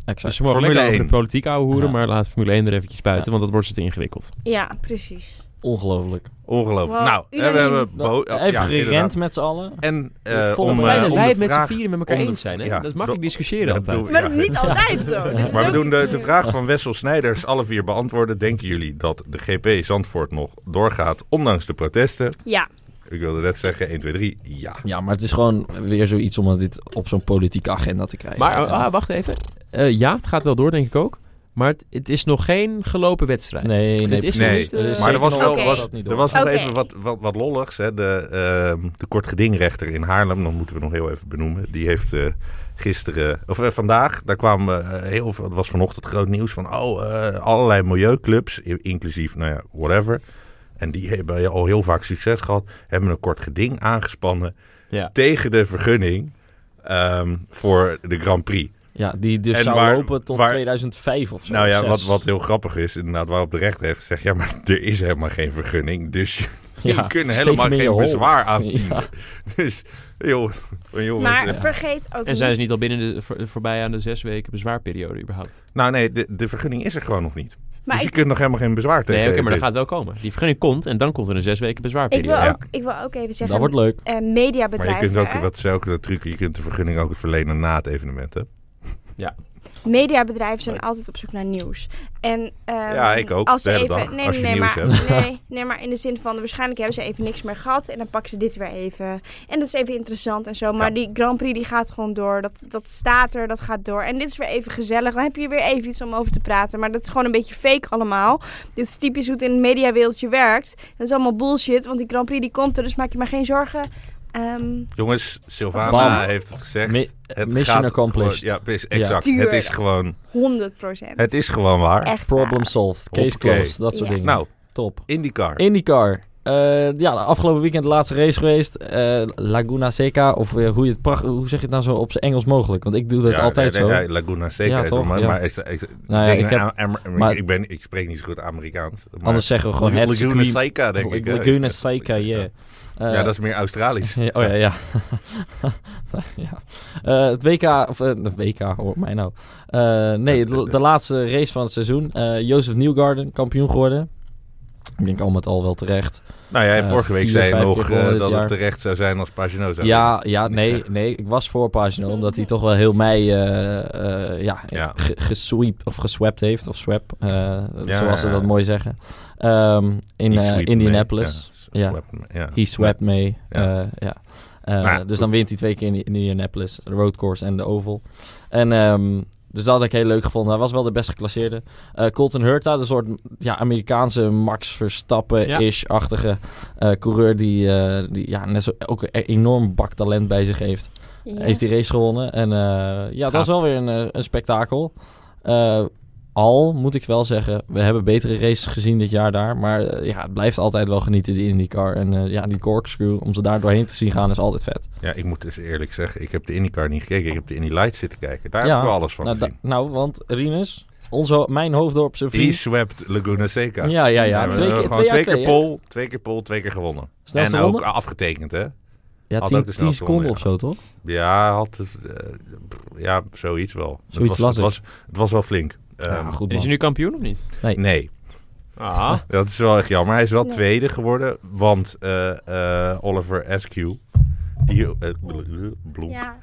[SPEAKER 3] Exact.
[SPEAKER 1] Dus ze mogen
[SPEAKER 4] Formule
[SPEAKER 1] lekker over de
[SPEAKER 4] 1.
[SPEAKER 1] politiek ouwe hoeren,
[SPEAKER 3] Ja.
[SPEAKER 1] maar laat Formule 1 er eventjes buiten, want dat wordt ze te ingewikkeld.
[SPEAKER 2] Ja, precies.
[SPEAKER 3] Ongelooflijk.
[SPEAKER 4] Ongelooflijk.
[SPEAKER 2] Wow,
[SPEAKER 4] nou,
[SPEAKER 2] iedereen-
[SPEAKER 4] we hebben...
[SPEAKER 3] Dat-
[SPEAKER 4] Bo-
[SPEAKER 3] even
[SPEAKER 4] ja,
[SPEAKER 3] gerend
[SPEAKER 4] inderdaad.
[SPEAKER 3] met z'n allen.
[SPEAKER 4] En eh
[SPEAKER 3] Volle
[SPEAKER 4] om,
[SPEAKER 3] Maar
[SPEAKER 1] Maar
[SPEAKER 4] eh,
[SPEAKER 3] fijn
[SPEAKER 1] dat
[SPEAKER 4] om
[SPEAKER 1] wij
[SPEAKER 4] de
[SPEAKER 1] het met z'n
[SPEAKER 4] vraag-
[SPEAKER 1] vieren met elkaar
[SPEAKER 4] om de
[SPEAKER 1] eens zijn, hè?
[SPEAKER 4] ja,
[SPEAKER 1] dat is makkelijk
[SPEAKER 4] dat-
[SPEAKER 1] discussiëren
[SPEAKER 4] dat
[SPEAKER 1] altijd.
[SPEAKER 4] doen
[SPEAKER 2] Maar dat is
[SPEAKER 4] Ja.
[SPEAKER 2] niet altijd zo. Dit is
[SPEAKER 4] Maar we
[SPEAKER 2] ook
[SPEAKER 4] doen de,
[SPEAKER 2] niet-
[SPEAKER 4] de vraag van Wessel Snijders. Alle vier beantwoorden. Denken jullie dat de GP Zandvoort nog doorgaat, ondanks de protesten?
[SPEAKER 2] Ja,
[SPEAKER 4] Ik wilde net zeggen, 1, 2, 3, ja.
[SPEAKER 3] Ja, maar het is gewoon weer zoiets om dit op zo'n politieke agenda te krijgen.
[SPEAKER 1] Maar
[SPEAKER 3] Ja.
[SPEAKER 4] oh,
[SPEAKER 1] ah, wacht even. Eh, ja, het gaat wel door, denk ik ook. Maar het, het is nog geen gelopen wedstrijd.
[SPEAKER 3] Nee, nee,
[SPEAKER 1] Dit is nog
[SPEAKER 4] nee.
[SPEAKER 1] niet, eh,
[SPEAKER 3] Er is
[SPEAKER 4] Maar er was
[SPEAKER 2] nog-
[SPEAKER 4] wel
[SPEAKER 2] Oké.
[SPEAKER 4] was,
[SPEAKER 3] Dat niet
[SPEAKER 4] er
[SPEAKER 3] door.
[SPEAKER 4] was nog
[SPEAKER 2] Oké.
[SPEAKER 4] even wat, wat, wat lolligs. Hè. De, ehm de kortgedingrechter in Haarlem, dat moeten we nog heel even benoemen. Die heeft eh, gisteren, of eh, vandaag, daar kwam eh, heel veel, het was vanochtend groot nieuws van oh, eh, allerlei milieuclubs, i- inclusief, nou ja, whatever. En die hebben al heel vaak succes gehad, hebben een kort geding aangespannen
[SPEAKER 1] Ja.
[SPEAKER 4] tegen de vergunning ehm, voor de Grand Prix.
[SPEAKER 3] Ja, die dus
[SPEAKER 4] En
[SPEAKER 3] zou
[SPEAKER 4] waar-
[SPEAKER 3] lopen tot
[SPEAKER 4] waar-
[SPEAKER 3] 2005 of zo.
[SPEAKER 4] Nou ja,
[SPEAKER 3] zes.
[SPEAKER 4] wat, wat heel grappig is, inderdaad, waarop de rechter heeft gezegd: ja, maar er is helemaal geen vergunning. Dus je
[SPEAKER 3] Ja,
[SPEAKER 4] kunnen
[SPEAKER 3] steek
[SPEAKER 4] helemaal
[SPEAKER 3] hem in je
[SPEAKER 4] geen
[SPEAKER 3] hol.
[SPEAKER 4] bezwaar aan.
[SPEAKER 3] Ja.
[SPEAKER 4] Dus, joh, van jongens.
[SPEAKER 2] maar
[SPEAKER 4] eh.
[SPEAKER 2] vergeet ook
[SPEAKER 1] En zijn ze
[SPEAKER 2] niet...
[SPEAKER 1] niet al binnen de voor- voorbij aan de zes weken bezwaarperiode überhaupt?
[SPEAKER 4] Nou nee, de, de vergunning is er gewoon nog niet.
[SPEAKER 2] Maar
[SPEAKER 4] dus je
[SPEAKER 2] ik,
[SPEAKER 4] kunt nog helemaal geen bezwaar
[SPEAKER 1] Nee,
[SPEAKER 4] tegen.
[SPEAKER 1] oké, maar dat gaat wel komen. Die vergunning komt en dan komt er een zes weken
[SPEAKER 2] ik, wil
[SPEAKER 1] bezwaarperiode.
[SPEAKER 4] Ja.
[SPEAKER 2] ook, ik wil ook even
[SPEAKER 3] Dat
[SPEAKER 2] zeggen,
[SPEAKER 3] wordt leuk.
[SPEAKER 2] eh,
[SPEAKER 4] Maar je
[SPEAKER 2] mediabedrijven,
[SPEAKER 4] kunt ook,
[SPEAKER 2] hè.
[SPEAKER 4] wat zei ook dat trucje, je kunt de vergunning ook verlenen na het evenement. Hè?
[SPEAKER 2] mediabedrijven zijn
[SPEAKER 1] Leuk.
[SPEAKER 2] altijd op zoek naar nieuws. En, ehm,
[SPEAKER 4] Ja, ik ook,
[SPEAKER 2] Als
[SPEAKER 4] de
[SPEAKER 2] ze
[SPEAKER 4] hele
[SPEAKER 2] even,
[SPEAKER 4] dag,
[SPEAKER 2] Nee,
[SPEAKER 4] als je
[SPEAKER 2] nee,
[SPEAKER 4] nieuws
[SPEAKER 2] maar, Nee, nee, maar in de zin van waarschijnlijk hebben ze even niks meer gehad en dan pakken ze dit weer even. En dat is even interessant en zo. Maar
[SPEAKER 4] Ja.
[SPEAKER 2] die Grand Prix die gaat gewoon door. Dat, dat staat er, dat gaat door. En dit is weer even gezellig. Dan heb je weer even iets om over te praten. Maar dat is gewoon een beetje fake allemaal. Dit is typisch hoe het in het mediawereldje werkt. Dat is allemaal bullshit, want die Grand Prix die komt er, dus maak je maar geen zorgen. Ehm,
[SPEAKER 4] Jongens, Sylvana
[SPEAKER 3] Bam.
[SPEAKER 4] heeft het gezegd.
[SPEAKER 3] Mi-
[SPEAKER 4] het
[SPEAKER 3] mission
[SPEAKER 4] gaat
[SPEAKER 3] accomplished.
[SPEAKER 4] gewoon- ja, precies, exact.
[SPEAKER 2] Ja.
[SPEAKER 4] Het
[SPEAKER 2] Tuurlijk.
[SPEAKER 4] is gewoon,
[SPEAKER 2] 100 procent.
[SPEAKER 4] het is gewoon waar.
[SPEAKER 2] Echt
[SPEAKER 3] Problem
[SPEAKER 2] waar.
[SPEAKER 3] solved. Case
[SPEAKER 4] Hoppakee.
[SPEAKER 3] closed. Dat soort
[SPEAKER 2] Ja.
[SPEAKER 3] dingen.
[SPEAKER 4] Nou,
[SPEAKER 3] Top.
[SPEAKER 4] IndyCar.
[SPEAKER 3] IndyCar. Eh ja, afgelopen weekend de laatste race geweest. Eh, Laguna Seca, of eh, hoe, je het pracht- hoe zeg je het nou zo op zijn Engels mogelijk? Want ik doe dat
[SPEAKER 4] Ja,
[SPEAKER 3] altijd
[SPEAKER 4] nee,
[SPEAKER 3] zo.
[SPEAKER 4] nee, ja, Laguna Seca
[SPEAKER 3] Ja,
[SPEAKER 4] is wel,
[SPEAKER 3] toch?
[SPEAKER 4] maar,
[SPEAKER 3] Ja.
[SPEAKER 4] maar is- is-
[SPEAKER 3] Nou ja,
[SPEAKER 4] denk
[SPEAKER 3] ik
[SPEAKER 4] een
[SPEAKER 3] heb-
[SPEAKER 4] Am- Amer-
[SPEAKER 3] maar-
[SPEAKER 4] ik, ben, ik spreek niet zo goed Amerikaans. maar-
[SPEAKER 3] Anders zeggen we gewoon het
[SPEAKER 4] Laguna
[SPEAKER 3] circuit.
[SPEAKER 4] Seca, denk ik. hè?
[SPEAKER 3] Laguna Seca, yeah. Eh,
[SPEAKER 4] Ja, dat is meer Australisch.
[SPEAKER 3] Ja, Oh ja, ja. ja. Eh, het WK, of eh, de WK, hoor mij nou. Eh, nee, de, de laatste race van het seizoen. Eh Jozef Newgarden, kampioen geworden. Ik denk al met al wel terecht.
[SPEAKER 4] Nou ja,
[SPEAKER 3] Eh,
[SPEAKER 4] vorige week
[SPEAKER 3] vier,
[SPEAKER 4] zei je
[SPEAKER 3] vijf
[SPEAKER 4] nog
[SPEAKER 3] keer gewonnen
[SPEAKER 4] eh,
[SPEAKER 3] dit
[SPEAKER 4] dat
[SPEAKER 3] jaar.
[SPEAKER 4] het terecht zou zijn als Pagino zou
[SPEAKER 3] ja,
[SPEAKER 4] winnen.
[SPEAKER 3] ja, nee, nee. Ik was voor Pagino, omdat hij toch wel heel mei eh, eh, ja,
[SPEAKER 4] Ja.
[SPEAKER 3] ge- gesweep- of geswept heeft. Of swap, eh,
[SPEAKER 4] ja,
[SPEAKER 3] zoals ze dat
[SPEAKER 4] ja.
[SPEAKER 3] mooi zeggen. Ehm, in
[SPEAKER 4] He
[SPEAKER 3] eh,
[SPEAKER 4] swept
[SPEAKER 3] Indianapolis.
[SPEAKER 4] me. Ja,
[SPEAKER 3] Ja.
[SPEAKER 4] swept me, ja.
[SPEAKER 3] He swept mee.
[SPEAKER 4] Ja.
[SPEAKER 3] Ja. ja. Eh,
[SPEAKER 4] Nou ja,
[SPEAKER 3] dus dan wint hij twee keer in in Indianapolis. De roadcourse en de oval. En, ehm, dus dat had ik heel leuk gevonden. Hij was wel de best geclasseerde. Eh, Colton Hurta, de soort ja, Amerikaanse Max Verstappen-ish-achtige eh, coureur... die, eh, die ja, net zo, ook een enorm bak talent bij zich heeft. Heeft die race gewonnen. En eh, ja, dat
[SPEAKER 1] Gaaf.
[SPEAKER 3] was wel weer een, eh, een spektakel. Eh, al moet ik wel zeggen, we hebben betere races gezien dit jaar daar. Maar eh, ja, het blijft altijd wel genieten, die IndyCar. En eh, ja, die corkscrew, om ze daar doorheen te zien gaan, is altijd vet.
[SPEAKER 4] Ja, ik moet dus eerlijk zeggen, ik heb de IndyCar niet gekeken. Ik heb de Indy Lights zitten kijken. Daar
[SPEAKER 3] Ja.
[SPEAKER 4] heb ik wel alles van
[SPEAKER 3] Nou, da-
[SPEAKER 4] gezien.
[SPEAKER 3] nou, want Rinus, onze, mijn hoofddorpse
[SPEAKER 4] He
[SPEAKER 3] vriend.
[SPEAKER 4] swept Laguna Seca.
[SPEAKER 3] Ja, ja, ja.
[SPEAKER 4] we
[SPEAKER 3] twee,
[SPEAKER 4] hebben
[SPEAKER 3] keer,
[SPEAKER 4] gewoon
[SPEAKER 3] twee,
[SPEAKER 4] twee
[SPEAKER 3] uit
[SPEAKER 4] keer
[SPEAKER 3] twee, hè?
[SPEAKER 4] pol, twee keer pol, twee keer gewonnen.
[SPEAKER 3] Snelste
[SPEAKER 4] en ook
[SPEAKER 3] ronde?
[SPEAKER 4] afgetekend, hè?
[SPEAKER 3] Ja,
[SPEAKER 4] had
[SPEAKER 3] tien,
[SPEAKER 4] ook dus de
[SPEAKER 3] tien
[SPEAKER 4] snelste ronde,
[SPEAKER 3] seconden of zo, toch?
[SPEAKER 4] Ja, had het, eh, pff, ja zoiets wel.
[SPEAKER 3] Zoiets
[SPEAKER 4] het, was,
[SPEAKER 3] las ik.
[SPEAKER 4] het, was, het was wel flink. Ehm,
[SPEAKER 3] ja, goed
[SPEAKER 1] En Is
[SPEAKER 3] man.
[SPEAKER 1] hij nu kampioen of niet?
[SPEAKER 4] nee,
[SPEAKER 1] Ah,
[SPEAKER 4] dat is wel echt jammer. Hij is wel
[SPEAKER 2] Snel.
[SPEAKER 4] tweede geworden, want eh, eh, Oliver Askew... Die, eh, bloem. Ja,